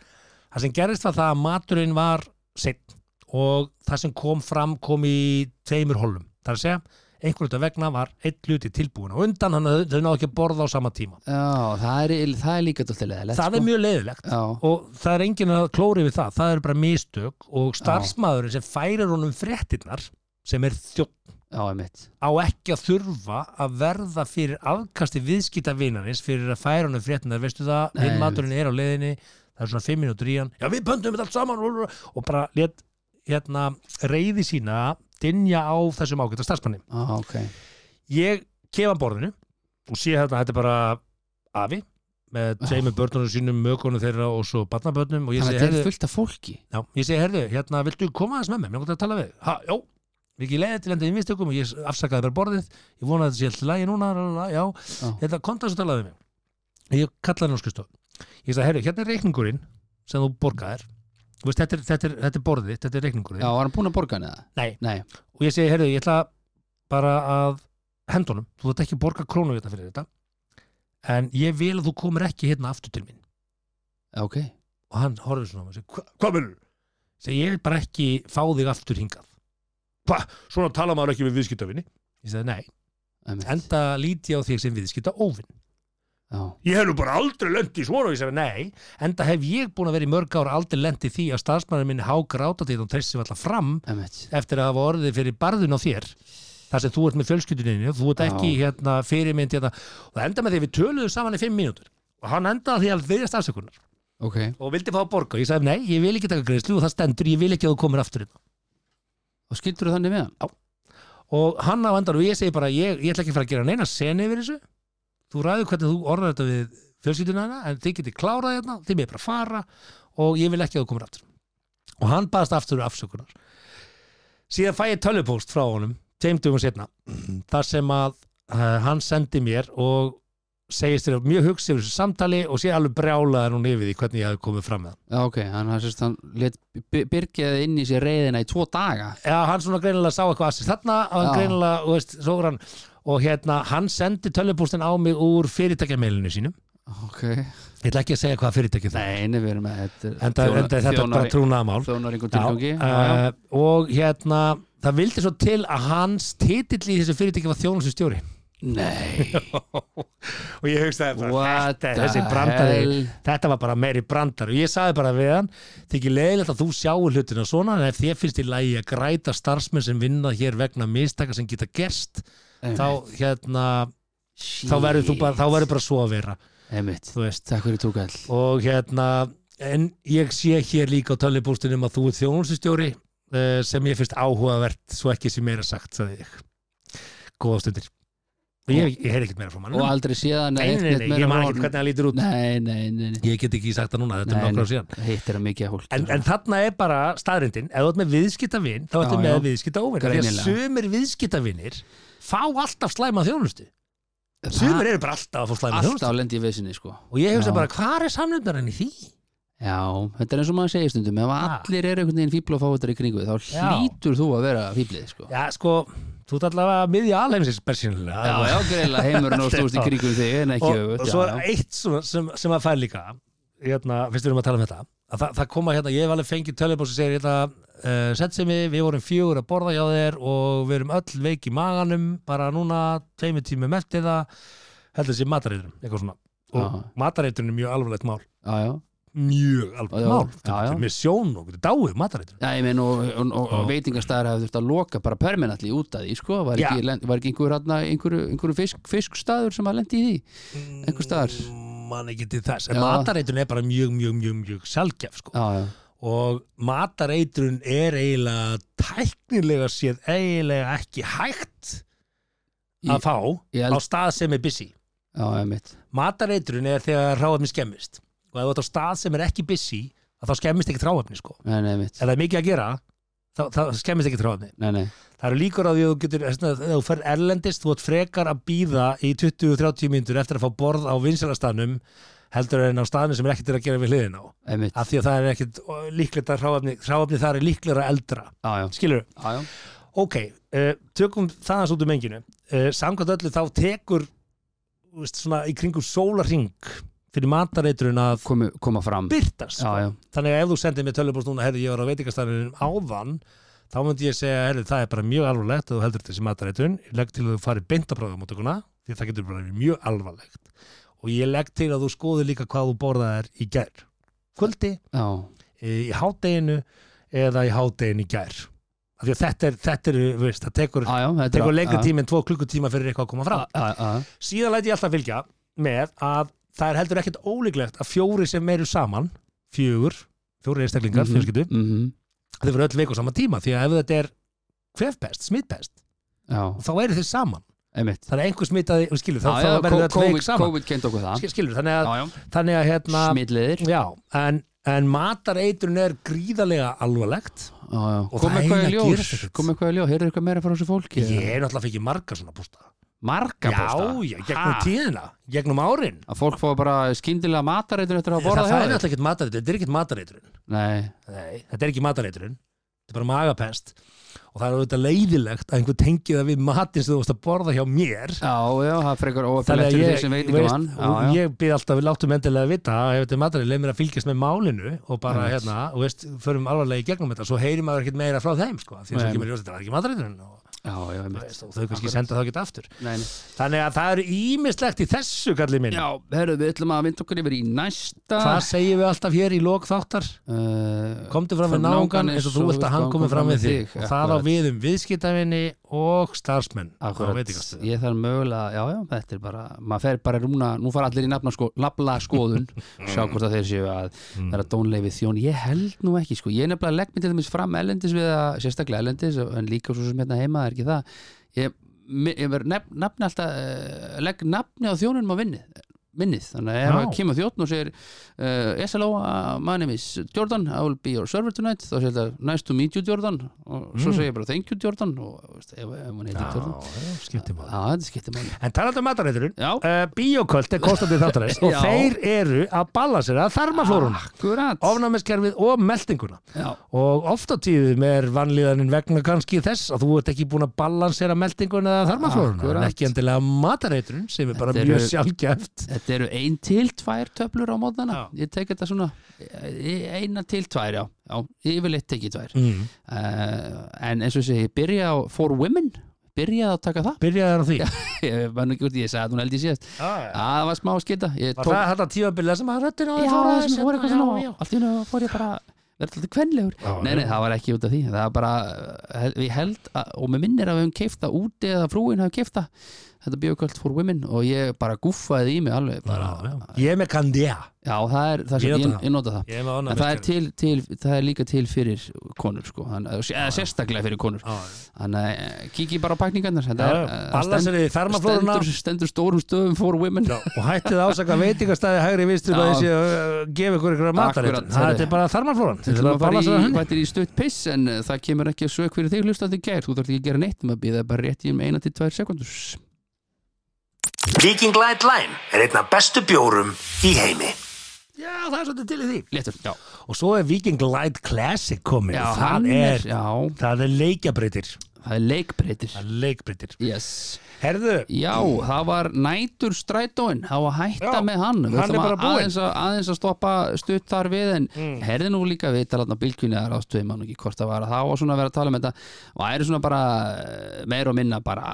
C: það sem gerist var það að maturinn var sitt og það sem kom fram kom í tveimur holum það er að segja, einhvern veit vegna var einn hluti tilbúin og undan hann þau náðu ekki að borða á sama tíma
D: Já, það er, það er líka dóttilega
C: það er mjög leiðilegt
D: Já,
C: og það er enginn að klóri við það það er bara mistök og starfsmaðurinn sem færir honum fréttinnar sem er þjótt
D: já, einmitt
C: á ekki að þurfa að verða fyrir afkasti viðskita vinarins fyrir að færa hann fréttina, veistu það,
D: Nei,
C: hinn maturinn er á leiðinni það er svona fimm mínútur í hann já við pöndum þetta allt saman rú, rú, rú, og bara let hérna, reyði sína dinja á þessum ágæta starfsmanni
D: Já, ok
C: ég kem að borðinu og sé hérna, þetta er bara afi með tveimur börnunum sínum, mökunum þeirra og svo barnabörnum og ég
D: Ah.
C: segi,
D: Þannig að þetta
C: herðu,
D: er fullt af fólki
C: já, ég segi, herðu hérna, viltu koma aðeins með mér, mér gott að tala við ha, já, mikið leiði til enda í mistökum og ég afsakaði bara borðið, ég vona að þetta sé alltaf lægi núna, la, la, la, já, Hérna,
D: Já.
C: þetta konta svo talaði við mig, ég kallaði hann á skrifstof ég sagði, herru, hérna er reikningurinn sem þú borgaðir, þú veist, þetta er, þetta er, þetta er borðið, þetta er reikningurinn
D: Já, var hann búin að borga hann eða?
C: Nei.
D: Nei,
C: og ég segi, herru, ég ætla að bara að hendunum, þú þarft ekki að borga krónu þetta fyrir þetta en ég vil að þú komir ekki hérna aftur til mín
D: ok
C: og hann horfir svona á mig og segir, "Hva- hvað vil segi ég vil bara ekki fá þig aftur hingað Hva? svona tala maður ekki við viðskiptafinni ég segi nei,
D: Einmitt.
C: enda líti á þig sem viðskipta óvinn
D: Já,
C: ég hef nú bara aldrei lent í svona og ég segi nei, enda hef ég búin að vera í mörg ára aldrei lent í því að starfsmæður minni hágráta því þú treystir alltaf fram
D: einmitt
C: eftir að hafa orðið fyrir barðun á þér þar sem þú ert með fjölskylduninni þú ert
D: Já.
C: ekki hérna, fyrirmynd hérna. og það enda með því að við töluðum saman í fimm mínútur og hann endaði á því að viðjast afsökunar
D: Ok,
C: og vildi fá að borga og ég sagði nei, ég vil ekki taka greiðslu og það stendur, ég vil ekki að þú komir aftur hérna.
D: og skildur þannig með hann?
C: og hann á endan og ég segi bara ég, ég ætla ekki að fara að gera neina seni yfir þessu þú ræður hvernig þú orðar þetta við fjölskylduna hana en þið getið klárað hérna, þið með bara fara og ég vil ekki að þú komir aftur og hann baðast aftur afsökunar síðan fæ ég tölvupóst frá honum tveimtugum setna þar sem að uh, hann sendi mér og segist þér mjög hugsi yfir þessu samtali og sé alveg brjálaðar hún yfir því hvernig ég hafði komið fram með hann
D: Já, ok, hann, hann, sérst, hann let byrgjaði inn í sér reyðina í tvo daga
C: Já, hann svona greinilega sá eitthvað að sér þarna og hann
D: Já.
C: greinilega, og veist, svo var hann og hérna, hann sendi tölvupústin á mig úr fyrirtækjameilinu sínum
D: Ok,
C: ég ætla ekki að segja hvað fyrirtækið það er
D: nei, nei, við erum með þetta er
C: enda,
D: þjónar-
C: enda er þetta bara
D: þjónar-
C: trúnaðamál
D: Þjónar einhver
C: Já,
D: tilgangi Já, já,
C: eh, og hérna það vildi svo til að hans titill í þessu fyrirtæki var þjónustjóri
D: Nei,
C: og ég hugsaði bara,
D: What
C: þetta,
D: the
C: þessi brandari
D: hell?
C: þetta var bara meiri brandari og ég sagði bara við hann þykir leiðilegt að þú sjáu hlutina svona en ef þér finnst í lagi að græta starfsmenn sem vinna hér vegna mistaka sem geta gerst þá hérna þá verður þú bara, þá verður bara svo að vera
D: Einmitt,
C: þú veist
D: takk fyrir tókall
C: og hérna, en ég sé hér líka á tölvupústinum að þú ert þjónustustjóri eh, sem ég finnst áhugavert svo ekki sem meira sagt, sagði ég góða stundir og ég, ég heyri ekkert meira frá
D: Og
C: mannum
D: aldrei séðan
C: Nei, nei, nei, ég man ekkert hvernig hann lítur út
D: Nei, nei, nei, nei.
C: ég get ekki sagt það núna, þetta
D: Nei,
C: er
D: nei.
C: nokkur á síðan
D: Hitt er að mikið hólk
C: En, en þarna er bara staðrindin, ef þú ert með viðskiptavin þá ertu
D: Já,
C: með
D: já.
C: viðskiptaóvin því að
D: Greinilega.
C: sumir viðskiptavinir fá alltaf slæma þjónustu sumir eru bara alltaf að fá slæma þjónustu
D: Alltaf lendi í vissinni, sko
C: og ég hugsa
D: Já.
C: bara, hvar er samlundarinn í því?
D: Já, þetta er eins og maður segir stundum ef allir eru einhvern veginn fíbl og fávættar í kringu þá
C: Já.
D: hlýtur þú að vera fíblið sko.
C: Já, sko, þú ert allavega að miðja alheimsins persínulega
D: Já, já, greiðlega heimurinn og stóðst í kringum þig en ekki
C: og, og
D: öfugt,
C: svo
D: já, já.
C: eitt svona sem, sem að fær líka hérna, fyrst við erum að tala um þetta að það, það koma hérna, ég hef alveg fengið tölvibóð sem segir hérna, uh, sett sem við, við vorum fjögur að borða hjá þér og við erum öll veik í maganum bara núna, tveimur tímum eftir það heldur sér matareitrun, eitthvað svona og
D: Já.
C: matareitrun er mjög alvarlegt mál
D: Já, já.
C: mjög alvarlegt
D: Já, já.
C: mál,
D: Já,
C: þetta
D: já.
C: er með sjón og þetta er dáið matareitrun
D: Já, ég meina og, og, og, og veitingastæðar hafði þurft að loka bara permanently út að því, sko, var
C: Já.
D: ekki, lent- var ekki einhver, hana, einhver, einhver fisk, fiskstæður sem að lendi í því, einhver staðar Já,
C: Mm, man ekki til þess, en
D: Já.
C: matareitrun er bara mjög, mjög, mjög, mjög sjálfgef sko.
D: já,
C: og matareitrun er eiginlega tæknilega séð eiginlega ekki hægt
D: Í-
C: að fá
D: ég
C: á
D: held,
C: stað sem er busy
D: já, ég mitt
C: matareitrun er þegar ráefni skemmist og ef þú ert á stað sem er ekki busy að þá skemmist ekkert ráefni sko
D: Nei, nei, mitt,
C: ef það er mikið að gera þá, þá skemmist ekkert ráefni
D: nei, nei
C: það eru líkur á því að þú getur þess vegna, þegar þú fer erlendist, þú ert frekar að býða í 20-30 mínútur eftir að fá borð á vinsalastanum heldur en á staðinu sem er ekkert að gera við hliðin á
D: Einmitt,
C: af því að það er ekkert ó, líklegt að hráefni, hráefni þar er líklegra eldra
D: já, já,
C: skilur,
D: já, já,
C: ok uh, tökum það aðeins út um enginu uh, samkvæmt öllu þá tekur þú veist, svona í kringum sólarring fyrir matareitrun að sko.
D: komu, koma fram
C: byrtast
D: Já, já,
C: þannig að ef þú sendir mér tölvupóst núna herri ég var á veitingastæðanum áðan þá myndi ég segja, herri það er bara mjög alvarlegt og þú heldur þessi matareitrun, ég legg til að þú farir beint að bráða mótökuna, því það getur bara verið mjög alvarlegt og ég legg til að þú skoður líka hvað þú borðaðir í gær kvöldi,
D: já,
C: í hádeginu eða í hádeginu í gær af því að þetta er, þetta er veist, það tekur,
D: já, já þetta er-
C: tekur lengri
D: Ah, já.
C: tíma en tvo klukkutíma fyrir eitthvað að koma fram
D: Já, já, já.
C: síðan læt ég alltaf fylgja með að það er heldur ekkert ólíklegt að fjóri sem eru saman fjögur, fjóri einstaklingar, mm -hmm.
D: Mhm.
C: fjölskyldu
D: Mhm.
C: þau verður öll veiku á sama tíma því að ef þetta er kvefpest, smittpest
D: Já,
C: þá eru þeir saman,
D: einmitt
C: þannig að einhver smitaði skilur, þá,
D: Já,
C: þá
D: já,
C: verður
D: co-
C: öll veik
D: COVID,
C: saman
D: COVID kent okkur það
C: Skil- skilur, þannig að,
D: Já, já,
C: þannig að hérna,
D: smitleðir
C: já, en, en matareitrun er gríðarlega alvarlegt Og
D: Kom
C: það
D: eitthvað
C: eiginlega
D: í
C: gerist
D: ljós
C: ekkert.
D: Kom eitthvað í ljós, heyrðu eitthvað meira frá þessu fólki
C: ég er náttúrulega fengið marga svona bústa
D: Marga
C: já, já, gegnum
D: Ha?
C: tíðina, gegnum árin
D: Að fólk fá bara skyndilega matareitur eftir að
C: það,
D: borða
C: það
D: hjá
C: er
D: þér?
C: náttúrulega ekkert matareitrun þetta er ekkert matareitrun
D: Nei,
C: Nei, þetta er ekki matareitrun þetta er bara magapest og það er auðvitað leiðilegt að einhver tengi það við matinn sem þú varst að borða hjá mér
D: Já, já, það er frekar
C: þannig
D: óöfnilegt
C: að
D: fyrir
C: ég,
D: þeir sem veit ekki
C: veist,
D: mann Já, já,
C: ég byrði alltaf við láttum endilega að vita að ef þetta er matarið, leið mér að fylgjast með málinu og bara
D: Einmitt.
C: hérna, og veist, förum alvarlega í gegnum þetta, svo heyrir maður ekkert meira frá þeim sko, því að
D: Nei.
C: svo kemur í ljós, þetta var ekki matariðurinn og,
D: já, já, einmitt.
C: veist, og þau kannski
D: Akkurat.
C: senda það ekki aftur
D: Nei, nei.
C: þannig að það eru ímislegt í þessu kallið minn,
D: Já, herru, við ætlum að vinda okkur yfir í næsta
C: hvað segjum við alltaf hér í lok þáttar?
D: Uh,
C: Komdu fram við náungan eins og þú vilt að hann komi fram við þig og það á við um viðskiptavinni og starfsmenn og
D: Akkurat,
C: veitingastöðum.
D: ég þarf mögulega, já, já, þetta er bara, maður fer bara í rúna, nú fara allir í nafna sko, nafla skoðun, sjá hvort að þeir séu að það er að dónleifið þjón, ég held nú ekki sko, ég nefnilega legg mér til dæmis fram ellendis við að, sérstaklega ellendis, en líka svo sem hérna heima, það er ekki það, ég, mi- ég verð nef, nafni alltaf, eh, legg nafni á þjónunum á vinnið, minnið, þannig að ef
C: Já.
D: að kemur þjóttn og segir uh, SLO, uh, my name is Jordan I will be your server tonight, þá segir þetta nice to meet you Jordan og svo segir ég bara thank you Jordan og veist, ef, ef hún heitir Jordan
C: Já, skiptir máli.
D: Já, þetta skiptir máli
C: En talandi um matareiturinn,
D: Já.
C: uh, bíoköld er kostandi þáttarins og
D: Já.
C: þeir eru að balansera þarmaflóruna,
D: Akkurat
C: ofnæmiskerfið og meldinguna.
D: Já,
C: Og oft á tíðum er vannlíðanin vegna kannski þess að þú ert ekki búin að balansera meldinguna eða þarmaflóruna, en
D: Akkurat.
C: ekki endilega matareiturinn sem er bara
D: Þetta
C: mjög
D: eru-
C: sjálfgæft.
D: þetta eru ein til tvær töflur á móðana
C: Já.
D: Ég tek þetta svona e- eina til tvær, já, já yfirleitt tek ég tvær
C: Mm.
D: uh, En eins og sé, ég byrja á For Women byrjaði að taka það
C: Byrjaði þar á því. Ah,
D: ég var nú ekki út í, ég sagði að hún held ég síðast
C: Já, já.
D: það var smá skita ég
C: Var
D: tók-
C: það þetta tíðabilið sem að röttin á
D: Já, það sem
C: fór
D: voru
C: aðeins
D: eitthvað
C: hérna?
D: svona allt í náttúrulega fór ég bara verður alltaf kvenlegur
C: Já,
D: nei,
C: já.
D: nei, það var ekki út af því það var bara, uh, hel- ég held að, og mér minnir að við höfum keifta úti eða frúin hafum keifta þetta bjóköld for women og ég bara gúffaði í mig alveg bara,
C: Já, já. Ég er með Candea.
D: já, það er það
C: Ég
D: sem ég,
C: nota
D: ég,
C: það.
D: nota það
C: Ég er með
D: En það er, til, til, það er líka til fyrir konur sko, þannig að- eða sérstaklega fyrir konur þannig að eh, kíkji bara á pakningarnar þetta
C: Já,
D: er,
C: já.
D: eh,
C: Balanserið í
D: stend-
C: þarmaflóruna.
D: stendur, stendur stórum stöfum for women
C: Já, og hættið að ásaka veitingastæði hægri vistur að
D: Já.
C: þessi að uh, gefa ykkur ykkur matarit
D: Akkurat,
C: það
D: herri.
C: þetta er bara þarmaflóran
D: Við ætlum að fara í,
C: henni
D: þetta er í stutt piss en uh, það kemur ekki að sög fyrir þig hlustandi gær, þú þarf ekki að gera neitt um að býða bara rétt í um eina til tvær sekundus
A: Viking Light Lime er einn af bestu bjórum í heimi.
C: já það er svolítið til í því
D: Léttur, já,
C: og svo er Viking Light Classic komið
D: já
C: það
D: hann
C: er,
D: já,
C: það er leikjabreytir
D: það er leikbreytir
C: það er leikbreytir
D: yes.
C: herðu,
D: Já, það var nætur strætóin, það var hætta
C: Já,
D: með hann Við
C: hann er
D: ætlum
C: bara
D: að-
C: búinn.
D: aðeins, að, aðeins að stoppa stutt þar við en mm. herði nú líka við talatna bylgjunni að ráðstöðum hann ekki hvort það var það var svona að vera að tala um þetta væri svona bara eh, meira og minna bara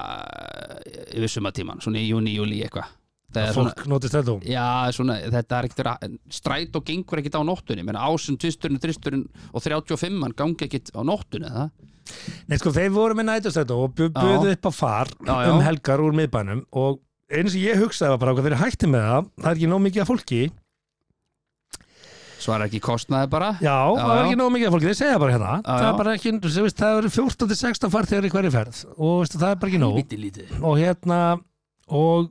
D: eh, yfir sumatíman, svona í júni, júli eitthvað Það er svona-
C: fólk notist þetta um
D: Já, svona, þetta er ekkert stræt og gengur ekkert á nóttunni menn ásinn, tvisturinn, þristurinn og 35 hann gangi ekkert á nóttunni það
C: nei sko þeir voru með nætustrættu og bu- buðu upp á far
D: Já, já.
C: um helgar úr miðbænum og eins og ég hugsaði var bara hvað þeir hætti með það það er ekki nóg mikið af fólki já,
D: svara ekki kostnaði bara
C: það er
D: já.
C: ekki nóg mikið af fólki, þeir segja bara hérna það
D: já.
C: er bara ekki, þú veist, það eru 14-16 farþegar í hverju ferð og veistu, það er bara ekki nóg
D: Lítið, lítið.
C: og hérna og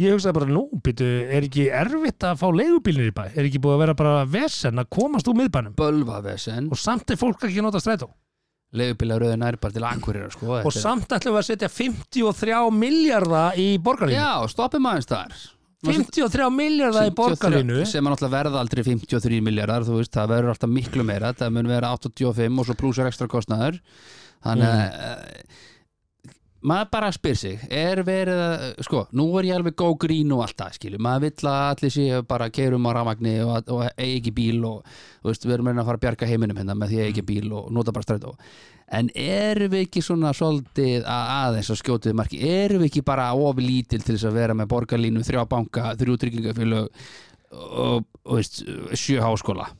C: ég hugsaði bara nú, býtu, er ekki erfitt að fá leigubílinir í bæ, er ekki búið að vera bara vesen að komast úr miðbænum
D: Bölvavesen,
C: og samt er fólk ekki að nota strætó
D: leiðubilaröðin er bara til akkurir sko, þetta
C: og
D: er-
C: samt ætlum við að setja 53 miljarda í borgarlínu
D: Já, stoppum aðeins þar
C: 53 miljarda í
D: 53
C: borgarlínu
D: sem er náttúrulega verða aldrei 53 miljardar þú veist, það verður alltaf miklu meira það mun vera 85 og svo plussar ekstra kostnaður þannig að eh, maður bara spyr sig er verið að, sko, nú er ég alveg go green og allt það, skilju, maður vill að allir séu bara keirum á rafmagni og, og eigi ekki bíl og, þú veist, við erum að reyna að fara að bjarga heiminum hérna með því að eigi ekki bíl og nota bara strætó en erum við ekki svona svolítið að aðeins að skjótu við marki erum við ekki bara oflítil til þess að vera með borgarlínu, þrjá banka, þrjú tryggingafélög og, og veist, sjö háskóla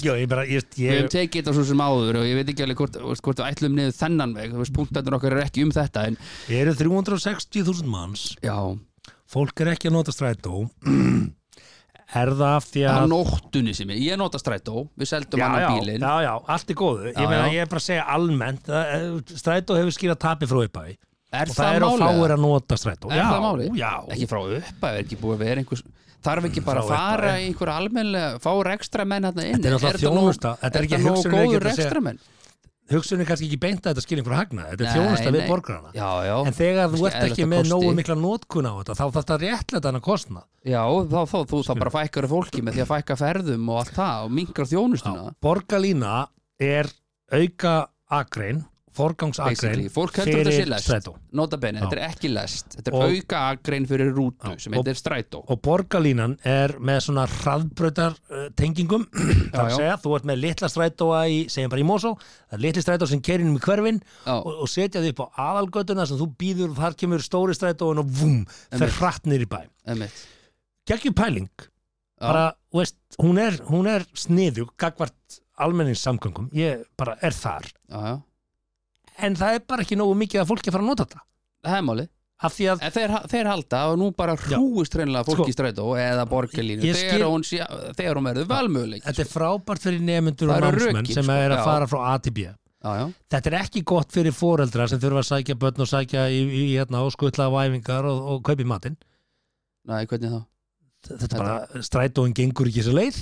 C: Jó, ég bara, ég,
D: við
C: ég,
D: höfum tekið þetta svo sem áður og ég veit ekki alveg hvort, veist, hvort við ætlum niður þennan veg þú veist, punktarnir okkar er ekki um þetta en,
C: ég eru 360.000 manns
D: já,
C: fólk er ekki að nota strætó er það af því
D: það
C: að
D: er nóttunni sem ég ég nota strætó, við seldum hann á bílinn
C: já, já, allt er góðu ég,
D: Já,
C: meina,
D: já.
C: ég er bara að segja almennt það, eh, strætó hefur skýrað tapi frá upphafi
D: er
C: og það eru
D: málið?
C: fáir að nota strætó
D: Er
C: já,
D: það máli?
C: já,
D: Ekki frá upp að ekki búið að vera einhvers Þarf ekki bara að
C: Mm, Frá upphaf,
D: fara í einhver almennilega Fá rekstra menn hérna inn
C: Þetta er náttúrulega
D: nóg-
C: þjónusta. Þetta er ekki
D: nóg
C: hugsunin að
D: góður
C: geta að segja-
D: rekstra menn
C: hugsunni kannski ekki beint að þetta skýr einhver hagna þetta er
D: Nei,
C: þjónusta
D: nei.
C: við borgarana
D: Já, já
C: en þegar þú
D: Kannski
C: ert ekki
D: eðlilegt
C: með
D: að
C: nógu
D: kosti.
C: mikla notkun á þetta þá þarf þetta réttlega þannig að kostna
D: Já, þá, þá, þú, þá bara fækkar fólki með því að fækka ferðum og allt það og minkar þjónustuna
C: borgarlína er auka akrein forgangsakrein
D: Basically, fólk heldur að þetta sé lest
C: strætó
D: nota bene, þetta er ekki lest þetta er
C: Og-
D: auka agrein fyrir rútu sem
C: Og-
D: heitir strætó
C: og borgarlínan er með svona hraðbrautar uh, tengingum það er að
D: já.
C: segja, þú ert með litla strætóa í, segjum bara í Mosó, það er litli strætó sem keirir um í hverfin
D: Já.
C: og, og setja þau upp á aðalgötuna sem þú býður, þar kemur stóri strætóin og vum, fer hratt niður í bæ
D: Einmitt.
C: geggjum pæling
D: Já.
C: bara, þú veist, hún er, hún er sniðug gagvart almenningssamgöngum ég bara er þar
D: Já, já.
C: en það er bara ekki nógu mikið að fólki að fara að nota þetta
D: það er máli
C: af því að
D: En þeir, þeir halda og nú bara hrúist reynilega fólk
C: Sko,
D: í strætó eða borgarlínu
C: ég skil-
D: þegar, hún sé, þegar hún verður sko. valmöguleik
C: þetta er frábært fyrir nefnendur og
D: Það eru
C: námsmenn
D: rökin,
C: sem
D: sko,
C: er að
D: já.
C: fara frá A til B
D: já, já,
C: þetta er ekki gott fyrir foreldra sem þurfa að sækja börn og sækja í, í, í hérna og skutla á æfingar og, og kaupi matinn
D: næ, hvernig þá
C: þetta er bara, strætóin gengur ekki þessu leið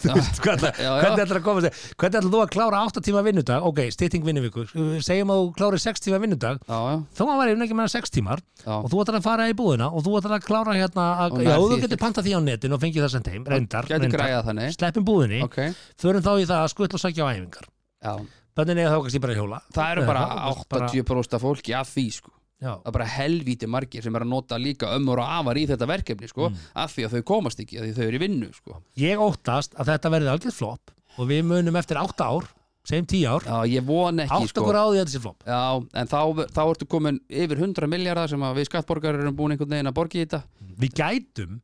C: þú
D: Já.
C: veist hvað það
D: Já, já.
C: hvernig ætlar að koma sér, hvernig ætlar þú að klára 8 tíma vinnudag, ok, stytting vinnuviku segjum að þú klári 6 tíma vinnudag
D: Já, já,
C: þó að væri ekki meðan 6 tímar
D: já,
C: og þú ætlar að fara í búðina og þú ætlar að klára hérna að,
D: Og
C: já,
D: nærð
C: þú
D: því
C: getur
D: ekki.
C: panta því á netin og fengið það sent heim, reyndar,
D: gæti
C: reyndar.
D: græða þannig
C: sleppum búðinni,
D: Ok,
C: förum þá í það að skutla og sækja á æfingar
D: já
C: bönnin eða þá kannski bara að hjóla
D: Það eru bara
C: Já, bara-
D: 80% af fólki af því sko
C: já.
D: Það er bara helvíti margir sem er að nota líka ömmur og afar í þetta verkefni sko
C: Mm.
D: Af því að þau komast ekki, af því að þau eru í vinnu sko
C: ég óttast að þetta verði algjörð flopp og við munum eftir 8 ár segjum 10 ár,
D: Já, ég von ekki
C: átt
D: sko
C: okkur á því að þetta sé flopp
D: Já, en þá, þá ertu komin yfir 100 miljardar sem að við skattborgarar erum búin einhvern veginn að borga í þetta
C: við gætum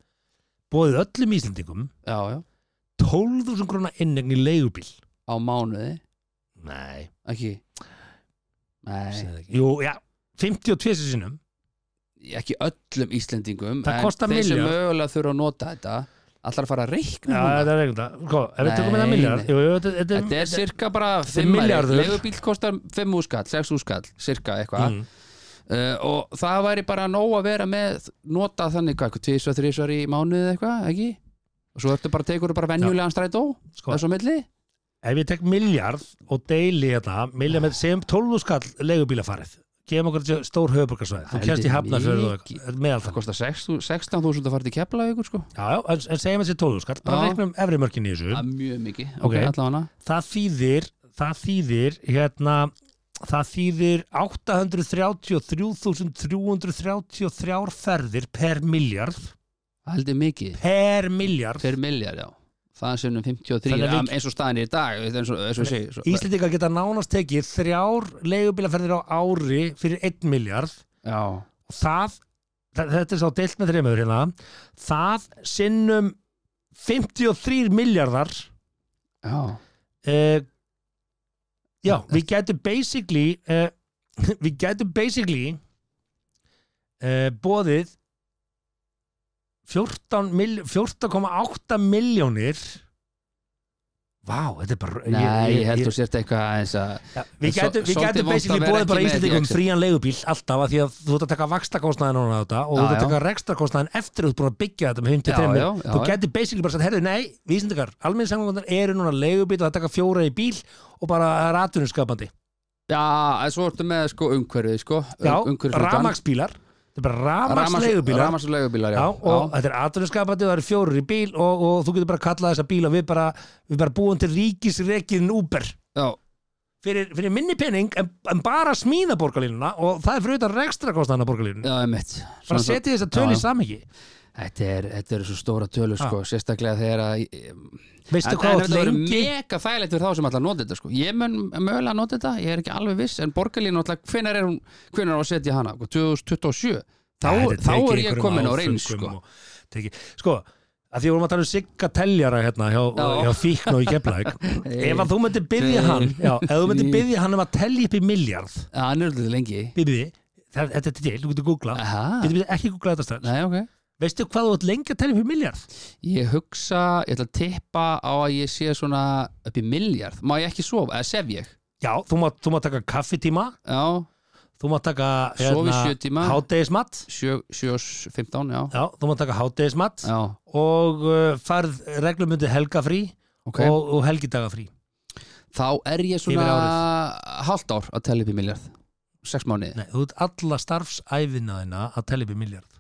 C: bóðið öllum Íslendingum
D: Já, já,
C: 12.000 krónar innegn í leigubíl
D: á mánuði,
C: nei,
D: ekki Nei,
C: segðu ekki. jú, já, 52 sinum
D: ekki öllum Íslendingum
C: Það
D: en
C: kostar
D: þeir sem
C: milljarð.
D: mögulega þurfa að nota þetta Allar að fara að
C: já,
D: reikna núna
C: þetta er ekkert að- sko, ef við tökum
D: Nei,
C: þetta miljard
D: nei.
C: jú, jú, þetta, þetta,
D: Þetta er cirka bara
C: er
D: 5
C: milljarður.
D: Leigubíl kostar 5 úrskall, 6 úrskall Cirka eitthvað
C: Mm.
D: uh, Og það væri bara nóg að vera með Nota þannig hvað, tísvar, þrísvar í mánuðið eitthvað Ekki? Og svo ertu bara tekur bara venjulegan strætó
C: Sko.
D: Þessu á milli
C: ef ég tek miljard og deili þetta miljard með segjum 12.000 skall leigubílafarið gefum okkur þetta stór höfuborgarsvæði þú
D: Heldur
C: kemst í hafnafjörðu og
D: mikið.
C: eitthvað meðal
D: Það
C: það
D: kostar 6 16.000 að fara til kepla ykkur sko
C: já, já, en, en segjum þessi 12.000 skall bara
D: Já.
C: reiknum efri mörkin í þessu
D: Það er mjög mikið, ok,
C: Ok.
D: okay. allavega
C: það þýðir það þýðir hérna það þýðir 833.333 ferðir per miljard
D: Það heldur mikið
C: per miljard
D: Fyrir miljard, já Það sem um 53,
C: Þannig að
D: am-
C: við-
D: eins og staðin er í dag eins og, eins og segir, svo,
C: Íslendingar geta nánast tekið þrjár leigubilaferðir á ári fyrir 1 miljard
D: Já,
C: og það, þa- þetta er sá deilt með þreymur hérna, það sinnum 53 miljardar
D: já,
C: uh, já, við getum basically uh, við getum basically uh, bóðið 14 mil- 14,8 miljónir Vá, þetta er bara
D: Nei, ég, held þú sért eitthvað eins að
C: ja, Við
D: svo-
C: gætum, við
D: svolítið
C: gætum
D: vont að
C: basically
D: vera
C: bóðið
D: ekki
C: bara
D: með
C: Íslandingum
D: í Excel.
C: frían leigubíl alltaf af því að þú ert að taka vakstakostnaðin og þetta og
D: Já,
C: þú ert að
D: já.
C: taka rekstakostnaðin eftir að þú ert búin að byggja þetta með 53
D: Já,
C: mil.
D: já, já,
C: Þú
D: já.
C: gæti basically bara sagt, herðu, nei, vísindikar almenningssamgöngunar eru núna leigubíl og það taka fjóra í bíl og bara ratunumskapandi
D: Já, en svo ertu með sko umhverfið sko
C: Já,
D: um- umhverfishlutann.
C: ramaksbílar Þetta er bara ramaksleigubílar
D: Rafmagns- Rafmagnsleigubílar, já,
C: Já, og þetta er atvinnuskapandi og það eru fjórir í bíl og, og þú getur bara að kalla þessa bíla við bara, við bara búum til ríkisrekin Uber
D: já,
C: fyrir, fyrir minni penning en, en bara smíða borgarlínuna og það er fyrir utan rekstra kostana borgarlínuna
D: já, einmitt
C: bara
D: Svona-
C: setja þess að tölu
D: Já,
C: í samhengi
D: Þetta er, þetta er svo stóra tölu sko, sérstaklega þegar að
C: veistu
D: En-
C: hvað
D: en
C: átt
D: þetta verður
C: lengi
D: mega þægilegt fyrir þá sem ætla að nota þetta sko. ég mun mögulega að nota þetta, ég er ekki alveg viss en borgarlínu alltaf, hvenær er hún hvenær á að setja hana, Sko, 2027 þá,
C: Nei, þetta
D: þá
C: tekið
D: er ég
C: einhverjum
D: komin á reyns
C: áföngum
D: sko.
C: og tekið- sko, að því vorum að tala um sigga teljara hérna hjá,
D: Já.
C: hjá fíkn og í keflæk
D: Hey.
C: ef að þú myndir byggja
D: Hey.
C: hann já, ef þú myndir
D: Hey.
C: byggja hann um að telja upp í miljard
D: Ja, hann er alltaf lengi
C: byrði, þetta er til, þú getur googla
D: Aha.
C: getur við ekki googla þetta stærn
D: Ah. Nei, okay.
C: veistu hvað þú átt lengi að telja upp í miljard
D: ég hugsa, ég ætla að tippa á að ég sé svona upp í miljard má ég ekki sofa, eða sef ég
C: já, þú mátt, þú mátt taka kaffitíma
D: já,
C: þú mátt taka hérna-
D: Sofa í sjö tíma.
C: hádegismat
D: 7.15, já
C: Já, þú mátt taka hádegismat
D: já,
C: og uh, farð reglumundi helgafrí
D: ok
C: og, og helgidagafrí
D: þá er ég
C: Yfir
D: svona hálft ár að tella upp í miljard 6 mánuði,
C: Nei, þú ert alla starfsæfina þina að telja upp í miljard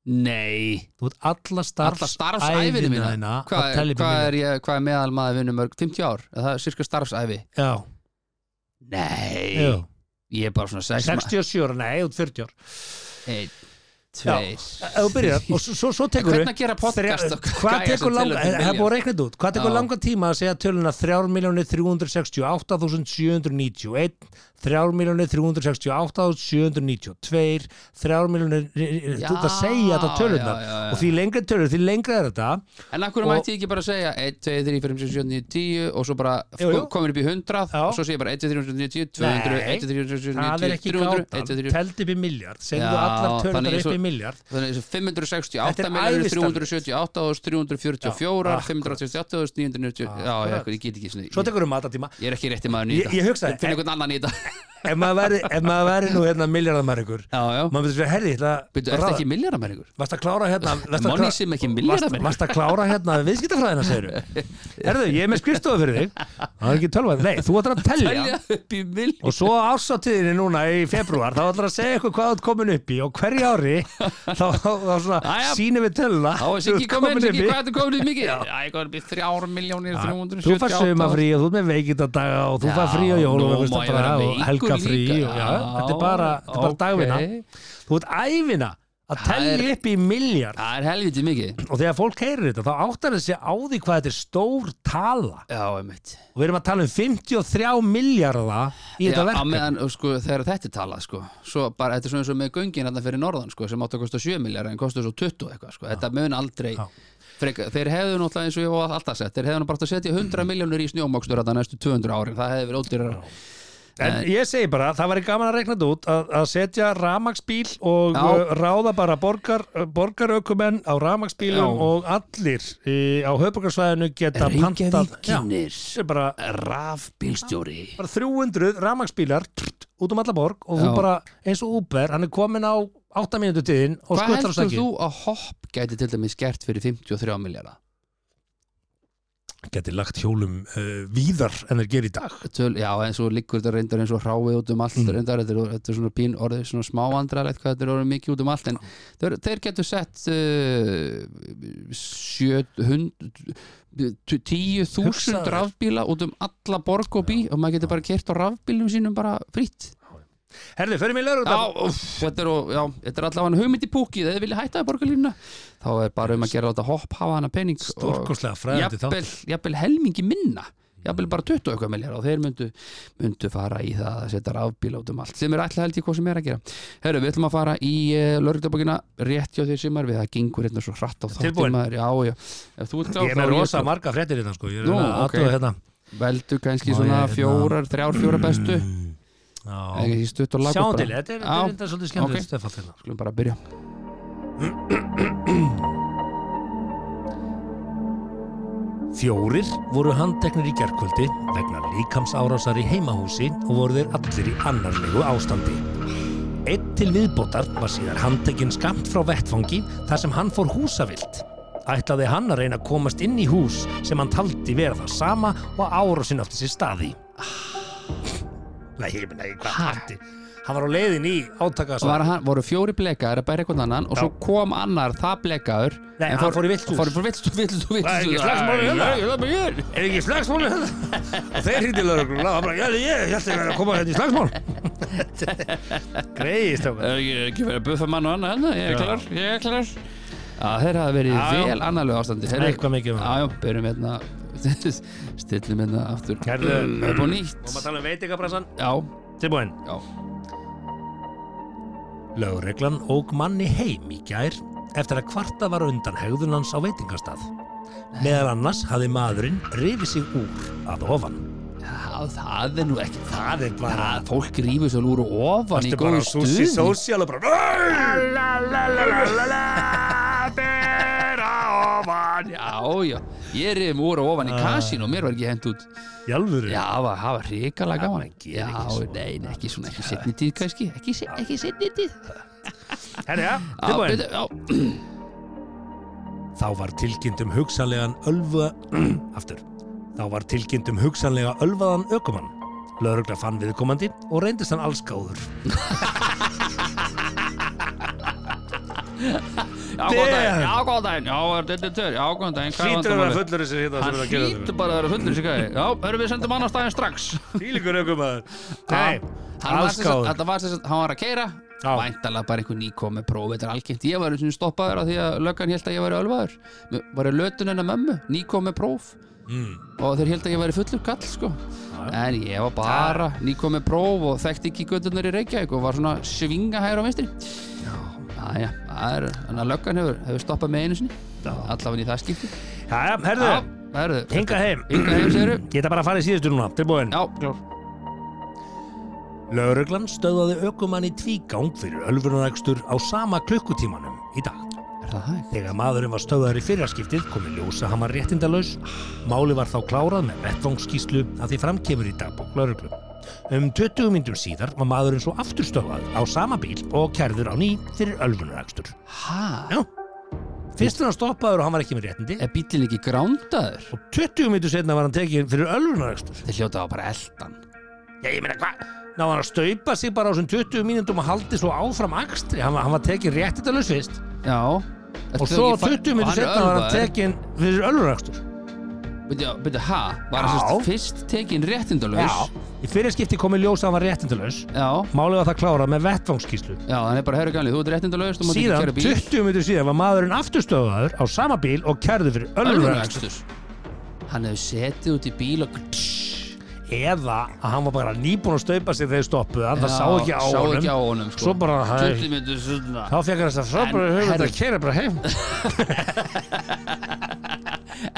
D: nei.
C: Þú ert alla
D: Alla starfsæfinu
C: starfsæfina
D: mína
C: þina að
D: Hvað
C: telja upp í
D: hva er,
C: miljard
D: ég- hvað er meðal maður vinnum mörg? 50 ár? Er Það er cirka starfsæfi
C: Já,
D: Nei
C: jú,
D: Ég er bara svona 6
C: 67 ára, nei, út 40 ára
D: 1,
C: Já,
D: 2
C: ef þú byrjar og svo, svo, svo tekur
D: Hvernig gera podcast og
C: eh, hvað
D: gæja
C: tekur
D: sem
C: langa,
D: telur til
C: það er búið að
D: milljón?
C: reikna þetta út hvað
D: Já.
C: tekur langa tíma að segja töluna 3.368.791 3.368.792 3.000 eh, þú ert að
D: Já,
C: segja þetta töluna
D: já, já, já.
C: og því lengra tölur, því lengra er þetta
D: En akkur
C: Og-
D: mætti ég ekki bara að segja 1, 2, 3, 4, 5, 6, 7, 9, 10 og svo bara
C: Jú, jú.
D: komin upp í 100
C: Já.
D: og svo segja ég bara 1, 2, 3, 4, 5, 6, 7, 9, 10 200,
C: það er ekki
D: 1, 2, 3, 4, 5, 6, 7, 9, 10 300, 1, 2,
C: gátan
D: 3,
C: teldi upp í miljard, segðu
D: Já,
C: allar
D: þannig
C: tölunar
D: er svo-
C: upp í miljard
D: Þannig þessi
C: Þetta er
D: 568 miljonir
C: æðislega
D: 378 344
C: Já,
D: 568 970 Já, já,
C: Akkurat.
D: ég get ekki svona
C: svo
D: ég-
C: tekur við matatíma
D: Ég er ekki rétti maður
C: Ég-
D: nýta
C: ég hugsaði-
D: Finn einhvern annan nýta
C: ef maður væri- ef maður væri nú hérna miljardamæri ykkur
D: Já, já
C: maður myndi segja, herri, ég ætla að
D: Byrju, ertu
C: ráða-
D: ekki milljaramenningur?
C: Varst að klára hérna varstu að
D: Money
C: klá-
D: sem ekki milljarðar
C: varstu-
D: menn.
C: Varst að klára hérna viðskiptafræðina, segirðu Herðu, ég er með skrifstofu fyrir þig Það er ekki tölvað, nei, þú ætlar að
D: Telja
C: telja
D: upp í milljaramenningur
C: Og svo ásatíðinni núna í februar Þá ætlar að segja eitthvað hvað þú ert komin upp í Og hverja ári Þá, þá svona
D: Jæja.
C: sínum við töluna
D: Þá er
C: sem þú
D: Siggi
C: ert
D: komin, Siggi,
C: upp í.
D: hvað ertu komin upp mikið? Já, ég komin upp í 3 miljónir
C: Þú fær sumafrí og þú ert með veikindadaga og þú fær frí og jólum
D: nú
C: og,
D: má ég vera
C: og
D: veikur
C: helga frí
D: líka.
C: og, já, þetta er bara, þetta er bara
D: Já,
C: dagvinna
D: ókei.
C: Þú ert ævina að
D: Það er-
C: telja upp í miljard
D: Það er helviti mikið
C: og þegar fólk heyrir þetta þá áttar þessi á því hvað þetta er stór tala
D: Já, einmitt
C: og við erum að tala um 53 miljardða í
D: Já,
C: þetta
D: á
C: verkefni
D: meðan, sko, þegar þetta er talað sko. svo bara, þetta er svona eins og með göngin hérna fyrir norðan, sko, sem átt að kosta 7 miljar en kosta svo 20 eitthvað, sko. þetta mun aldrei
C: Já.
D: freka, þeir hefðu náttúrulega eins og ég var alltaf sett, þeir hefðu nú bara átt að setja
C: Mm.
D: 100 miljónur í snjómokstur þetta næstu 200 árin, það hefði verið ódýrar
C: en ég segi bara, það væri gaman að rekna þetta út að, að setja ramagsbíl og
D: Já.
C: uh, ráða bara borgar, uh, borgaraukumenn á ramagsbílum
D: Já.
C: og allir í, á höfbrukarsvæðinu geta pantað Já,
D: Reykjavíkinir,
C: þetta er bara,
D: rafbílstjóri
C: bara 300 ramagsbílar út um alla borg og þú
D: Já.
C: bara eins og Uber, hann er komin á 8 mínútu tíðin og
D: Hvað
C: skuttar á
D: heldur
C: stakki
D: þú að hopp gæti til dæmis gert fyrir 53 miljara?
C: geti lagt hjólum uh, víðar en þeir gerir í dag
D: Töl, já, eins og liggur þetta reyndar eins og hráið út um allt
C: Mm.
D: reyndar, þetta er, þetta er svona pín orðið svona smá andralegt hvað þetta er orðið mikið út um allt en þeir, þeir getur sett eh, uh,
C: Hugsaðu
D: 10.000
C: þér.
D: rafbíla út um alla borg og bí og maður getur bara kert á rafbílum sínum bara fritt
C: Herði, förum í
D: Já,
C: lauruglan
D: úff, þetta er, og- já, þetta er allavega hugmynd í púkið eða þið vilja hætta að borgarlínuna þá er bara um að gera þetta hopp hafa hana pening og-
C: Stórkostlega fræðandi þá
D: jafnvel, jafnvel helmingi minna jafnvel bara 20 eitthvað miljar og þeir myndu, myndu fara í það að setja rafbíl út um allt sem er alltaf held ég hvað sem er að gera Herru, við ætlum að fara í uh, lörgdabokina rétt hjá þér sem er við það gengur hérna svo hratt á
C: Tilbúin?
D: þáttum maður já, já. Ef þú ert klár,
C: Ég er
D: þá
C: með
D: ég
C: rosa
D: klár.
C: marga fréttir hérna sko Ég er
D: Nú,
C: að
D: ok.
C: aðtöða hérna
D: veldu kannski
C: Má
D: svona
C: ég hérna-
D: fjórar, þrjár, fjórar bestu
C: Já.
D: ekki stutt og lagur
C: Sjáum til, þetta er- þetta
D: Já.
C: er þetta er svolítið skemmtilegt
D: Ok.
C: Stefán hérna
D: skulum bara byrja
C: Fjórir voru handteknir í gerkvöldi vegna líkamsárásar í heimahúsi og voru þeir allir í annarlegu ástandi. Eitt til viðbótar var síðar handtekinn skamt frá vettfangi þar sem hann fór húsavilt. Ætlaði hann að reyna að komast inn í hús sem hann taldi vera það sama og árásin átti sér staði. Nei, ég minna ekki hvað
D: Ha?
C: hætti. Hann var á leiðin í átaka
D: var hann, voru fjóri blekaður að bæra eitthvað annan og svo kom annar það blekaður
C: Nei,
D: en
C: hann fór í villthús.
D: fór í villthús, villthús, villthús
C: Það er ekki slagsmál í
D: Æ,
C: hérna.
D: já, það er bara hér.
C: Er ekki slagsmál með þetta? Og þeir hindi lögreglum og bara, já, ég held að vera að koma hérna í slagsmál. Greiðist okkar.
D: Er ekki, ekki verið að buffa mann og annað hérna, ég er klar, ég er klar Já, þeir hafa verið
C: Já, já.
D: vel annarlegu ástandi Þeir
C: Eitthvað mikið um
D: Já, já, byrjum hérna Stillum hérna aftur
C: Herðu,
D: upp á nýtt
C: Má maður tala um veitingabransan?
D: Já,
C: Tilbúin.
D: já
C: Lögreglan óg manni heim í gær eftir að kvarta var undan hegðun hans á veitingastað. Meðal annars hafði maðurinn rifið sig úr að ofan.
D: Já, það er nú ekki það
C: Það er
D: Það, fólk rýfur svo lúru ofan í
C: Varstu bara
D: góðu
C: á súsi
D: stuð
C: sósíal og bara
D: Bera ofan Já, já, ég rýfum úr og ofan í
C: Ah.
D: kasín og mér var ekki hent út
C: Jálfurinn.
D: Já, það var- það var hrikalega gaman
C: maður gerir ekki
D: Já,
C: svona.
D: nei, nei, ekki svona, ekki setni tíð kannski Ekki, se- ekki setni tíð
C: Herja,
D: Já,
C: tilbúin.
D: byrju, já,
C: Þá var tilkynnt um hugsanlegan ölva... Aftur. Þá var tilkynnt um hugsanlega ölvaðan ökumann. Lögregla fann viðkomandi og reyndist hann allsgáður.
D: Já, góðan
C: Damn.
D: daginn, já, góðan daginn, já, er þetta tör, já, góðan daginn, hvað er
C: Hlýtur að vera
D: vandamálið?
C: fullur þessi hérna sem
D: Hann
C: er að gera
D: hlýtur bara að vera fullur sér gæði, já, erum við sendum annars daginn strax.
C: þetta. Hlýtur ökumaður.
D: Já.
C: Nei,
D: Hann var sem sagt-
C: Allsgáður.
D: Þetta var sem sagt, hann var að keira
C: Já.
D: Væntalega bara einhver nýkom með próf Þetta er algengt, ég var einu sinni stoppaður af Því að löggan held að ég væri ölvaður Mér Var ég lötun hennar mömmu, nýkom með próf
C: Mm.
D: Og þeir held að ég væri fullur kall sko. En ég var bara nýkom með próf Og þekkti ekki göttunar í Reykjavík Og var svona svinga hægur á vinstri Jæja, það er Þannig að löggan hefur, hefur stoppað með einu sinni Allafan í það skipti
C: Jæja, herðu,
D: verðu
C: hingað heim
D: Hinga heim, segirðu?
C: Geta bara að fara í síðustu núna, tilbúin
D: Já, klár
C: Lauruglan stöðaði ökumann í tvígang fyrir ölfunarækstur á sama klukkutímanum í dag.
D: Er það hægt?
C: Þegar maðurinn var stöðaður í fyrraskiptið komi ljósa hann var réttindalaus. Máli var þá klárað með vettvangskíslu að því framkemur í dagbók lauruglu. Um 20 myndum síðar var maðurinn svo aftur stöðaður á sama bíl og kærður á ný fyrir ölfunarækstur.
D: Hæ?
C: Já, fyrst var hann stoppaður og hann var ekki með réttindi.
D: Er bílinn ekki grándaður?
C: Og 20 myndum setna var hann tekið fyrir ölfunarækstur.
D: Þeir hljóta á bara eldan
C: Já, ég meina hvað? Ná hann að staupa sig bara á þessum 20 mínútum og haldi svo áfram akstri. Hann, var- hann var tekið réttindalaus fyrst.
D: Já
C: og svo 20 minnir setna var hann tekinn fyrir öllurækstur
D: Byrja, byrja, ha? Var
C: Já.
D: hann sérst fyrst tekin réttindalaus?
C: í fyrir skipti komið ljós að hann var réttindalaus
D: Já
C: málið var það klárað með vettvangskíslu
D: Já, hann er bara, herru gamli, þú ert réttindalaus Þú mátt ekki
C: síðan
D: kæra bíl
C: 20 minnir síðan var maðurinn afturstöðaður á sama bíl og kærði fyrir öllurækstur
D: Ölvunakstur Hann hefur setið út í bíl og Tss,
C: eða að hann var bara nýbúin að staupa sig þegar stoppuð hann, það
D: Já,
C: sá ekki á
D: sá
C: honum,
D: ekki á honum, sko.
C: svo bara hæ,
D: 20 minnir setna
C: þá fekk hann þess að
D: En,
C: frábæri höfum
D: herru.
C: að kæra bara heim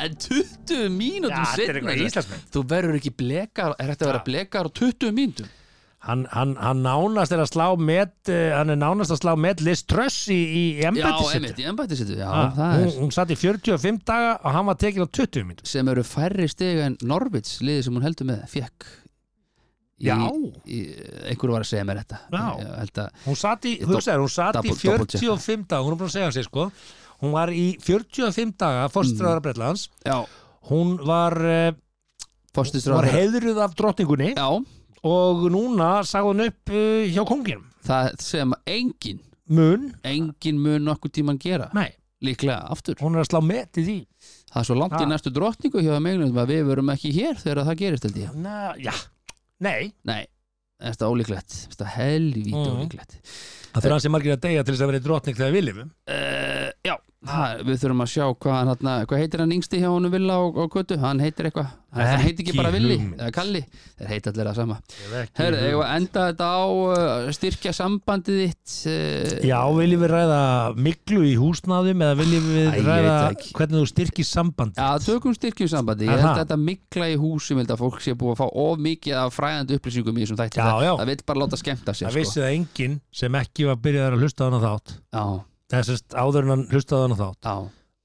D: En 20
C: Já,
D: mínútum
C: þetta er
D: setna
C: eitthvað Íslandsmet.
D: Þú verður ekki blekar Er þetta að vera blekar á 20 mínútum?
C: hann, hann, hann nánast er að slá met eh, hann er nánast að slá met list tröss í, í
D: Já,
C: embættisettu
D: einmitt, í embættisettu Já, það
C: hún,
D: er
C: hún satt í 45 daga og hann var tekinn á 20 minn
D: sem eru færri stig en Norvits liði sem hún heldur með fekk í,
C: Já.
D: í, einhver var að segja mér þetta
C: Já.
D: Ég held að,
C: hún satt í,
D: Ég dop-
C: hugsaður, hún satt í
D: double- double check.
C: 45 daga hún er búin að segja sér sko hún var í 45 daga fórstræðara mm. Bretlands
D: já,
C: hún var, eh, var
D: fórstistráður
C: heiðruð af drottningunni
D: já,
C: og núna sagði hún upp uh, hjá konginum
D: það sem engin
C: mun,
D: engin mun nokkuð tíman gera
C: nei,
D: líklega aftur,
C: hún er að slá met í því
D: það er svo langt
C: Ha.
D: í næstu drottningu hjá megnum að við verum ekki hér þegar það gerist held ég,
C: Na, já, nei
D: nei þetta er ólíklegt, þetta er helvíti
C: Mhm.
D: ólíklegt
C: það þurfa hans sem margir að deyja til þess að vera drottning þegar við lifum
D: uh, já, það, við þurfum að sjá hvað, hann, þarna, hvað heitir hann yngsti hjá honum Villa og, og Götu, hann heitir eitthvað hann
C: Ekki
D: heitir ekki bara Villi,
C: hugmynd.
D: eða Kalli þeir heit allir að sama Herðu,
C: Herri,
D: eigum við að enda þetta á uh, styrkja sambandið þitt uh,
C: Já, viljum við ræða miklu í húsnaðum eða viljum við
D: Æ, ég veit
C: ræða
D: það ekki.
C: hvernig þú styrkir samband
D: Já, tökum styrkjum
C: Er
D: sambandi, ég held
C: það?
D: að þetta mikla í húsum, ég held að fólk sé búið að fá of mikið af fræðandi upplýsingum í þessum þætti
C: Já,
D: það,
C: já.
D: það vil bara láta skemmta sér
C: Það
D: sko.
C: vissi það enginn sem ekki var byrjaðar að hlusta á hana þátt
D: Já,
C: þessast áður en hann hlustaði á hana þátt
D: já,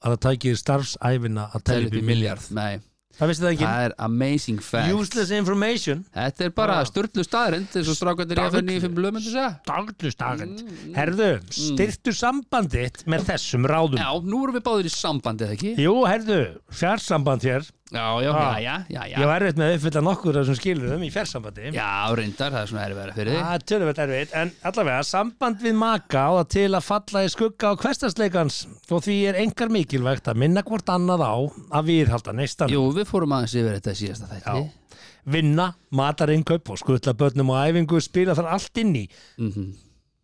C: að það tækið starfsæfina að
D: tel
C: tæla
D: upp í miljard Nei,
C: Það vissi það enginn
D: það er amazing fact
C: Useless information
D: Þetta er bara
C: Já.
D: styrlu staðrind eins og strákandir ég að fyrir
C: Staðreynd.
D: nýjum fimm blöð myndi segja
C: Daglu stagend
D: Mm,
C: Herðu, styrtu sambanditt með þessum ráðum
D: Já, nú erum við báðir í sambandi, eða ekki?
C: Jú, herðu, fjarsamband hér
D: Já, já, já,
C: Já.
D: já, já, já.
C: Ah. Ég var erfitt með að uppfylla nokkur af þessum skilurðum í fjarsambandi
D: já reyndar, það er svona erfæra fyrir þig
C: Það er tölvöld erfitt, en allavega samband við maka á það til að falla í skugga á hverstasleikans og því er engar mikilvægt að minna hvort annað á að viðhalda neistan
D: Jú, við fórum aðeins yfir þetta í síðasta þætti
C: Já. vinna, matarinnköp og skutla börnum og æfingu spila þar allt inn í
D: Mhm.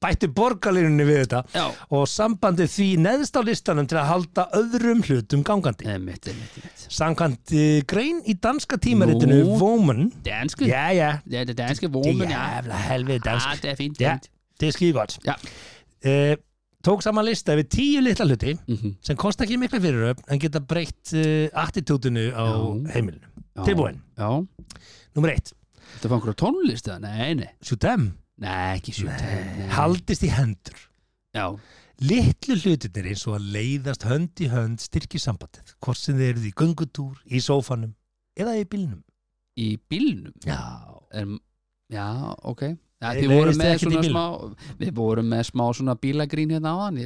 C: bættu borgarlínunni við þetta
D: Já.
C: og sambandi því neðst á listanum til að halda öðrum hlutum gangandi
D: Einmitt, einmitt, einmitt
C: Samkvæmt uh, grein í danska tímaritinu
D: Nú.
C: Woman
D: Dansku
C: Já, já,
D: Þetta er danske
C: Þetta
D: vómen,
C: er
D: já
C: jævla helvið dansk
D: Ah, þetta er fínt,
C: Já,
D: fínt.
C: þetta er skýr gott
D: Já,
C: uh, Tók saman lista yfir tíu litla hluti
D: Mhm.
C: sem kosta ekki mikla fyriröfn en geta breytt uh, attitútinu á
D: Já.
C: heimilinu
D: já
C: Tilbúin.
D: Já,
C: Númer eitt,
D: þetta fann einhverja tónlist eða? Nei, nei,
C: sjúdem,
D: nei, ekki sjútt
C: haldist í hendur
D: Já,
C: Litlu hlutinir eins og að leiðast hönd í hönd styrki sambandið, hvort sem þeir eru í göngutúr, í sófanum eða í bílnum.
D: í bílnum
C: Já.
D: um, Já, ok Já,
C: Nei,
D: þið
C: nei,
D: vorum
C: veistu
D: með
C: ekkert í
D: svona smá
C: bílnum?
D: Við vorum með smá svona bílagrín hérna á hann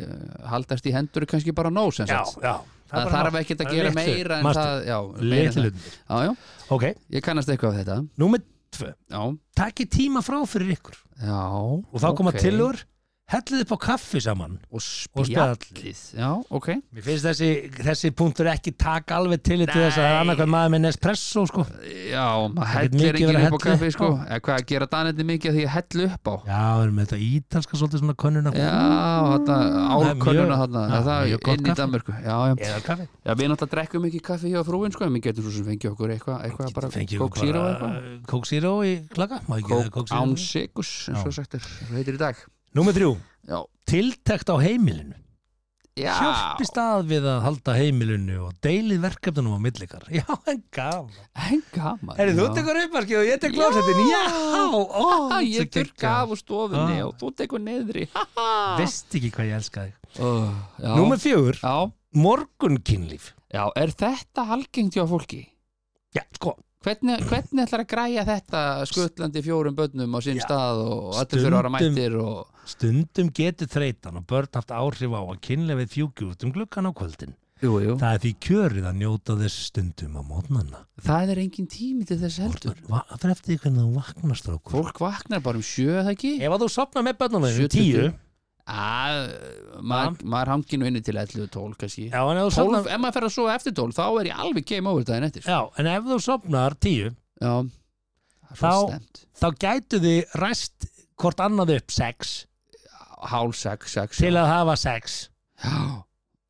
D: Haldast í hendur er kannski bara nóg sem
C: Já,
D: sagt
C: já.
D: Það þarf ekki að gera meira en það Já, meira en
C: Litlu
D: það.
C: hlutinir.
D: Já, já,
C: Ok,
D: ég kannast eitthvað af þetta
C: númer tvö.
D: Já,
C: Takki tíma frá fyrir ykkur
D: já
C: og þá koma
D: ok.
C: okay. tilur hellið upp á kaffi saman
D: og
C: spjall.
D: spjallið já, ok
C: Mér finnst þessi, þessi punktur ekki taka alveg til til þess að það er
D: Nei.
C: annarkvæð maður með Nespresso sko.
D: já, maður
C: Ekkert mikið
D: hellir ekki
C: verið að
D: upp á
C: hella
D: kaffi
C: upp á.
D: sko eða hvað gera danetni mikið að því að hellu upp á
C: Já, við erum með þetta ítalska svolítið svona könnuna sko.
D: já, þetta
C: Mm. Það er mjög-
D: álkönnuna þarna
C: Já,
D: er það
C: mjög gott
D: inn í
C: kaffi.
D: Danmörku já, já.
C: Eða kaffi
D: já, við náttúrulega drekkum ekki kaffi hjá frúin sko, en við getum svo sem fengið okkur eitthvað eitthvað bara
C: Fengjum
D: kók síra og eitthvað
C: bara Coke Zero í klaka Má ekki
D: kók
C: gera Coke Zero?
D: án sigus eins og sagt er, það heitir í dag
C: Númer þrjú
D: já,
C: Tiltekt á heimilinu
D: já
C: Hjálpist að við að halda heimilinu og deilið verkefnunum á millikar Já, en gaman
D: en gaman
C: Herri, þú
D: já.
C: tekur uppmarkið og ég tek glásetin Já, ó,
D: Ha, ég
C: svo
D: þurrka
C: geggjað.
D: af úr stofunni
C: Ah.
D: og þú tekur neðri
C: Veist ekki hvað ég elska þig
D: oh, já.
C: Númer fjögur,
D: já,
C: morgunkynlíf
D: já, er þetta algengt hjá fólki?
C: Já, sko,
D: Hvernig, hvernig ætlar að græja þetta skutlandi fjórum börnum á sinn
C: Já.
D: stað og allir fyrir ára
C: Stundum-
D: mættir og
C: stundum getur þreytan og börn haft áhrif á að kynlefið fjúki út um gluggan á kvöldin
D: jú, jú.
C: Það er því kjörið að njóta þess stundum á mótnanna
D: það er engin tími til þess heldur
C: Va- Það er eftir því hvernig þú vaknar strákur
D: fólk vaknar bara um sjö, er það ekki?
C: Ef að þú sopnar með börnum þeirnum
D: 70.
C: tíu
D: að maður maður hangi nú inni til 11 og 12 kannski
C: Já, en ef þú
D: 12,
C: sopnar
D: ef maður fer að sofa eftir 12 þá er ég alveg game over daginn eftir
C: Já, en ef þú sopnar tíu
D: já, það er svo
C: Þá-
D: stemt
C: þá gætu þið ræst hvort annað upp sex
D: hálf 6, 6
C: til að hafa sex
D: Já,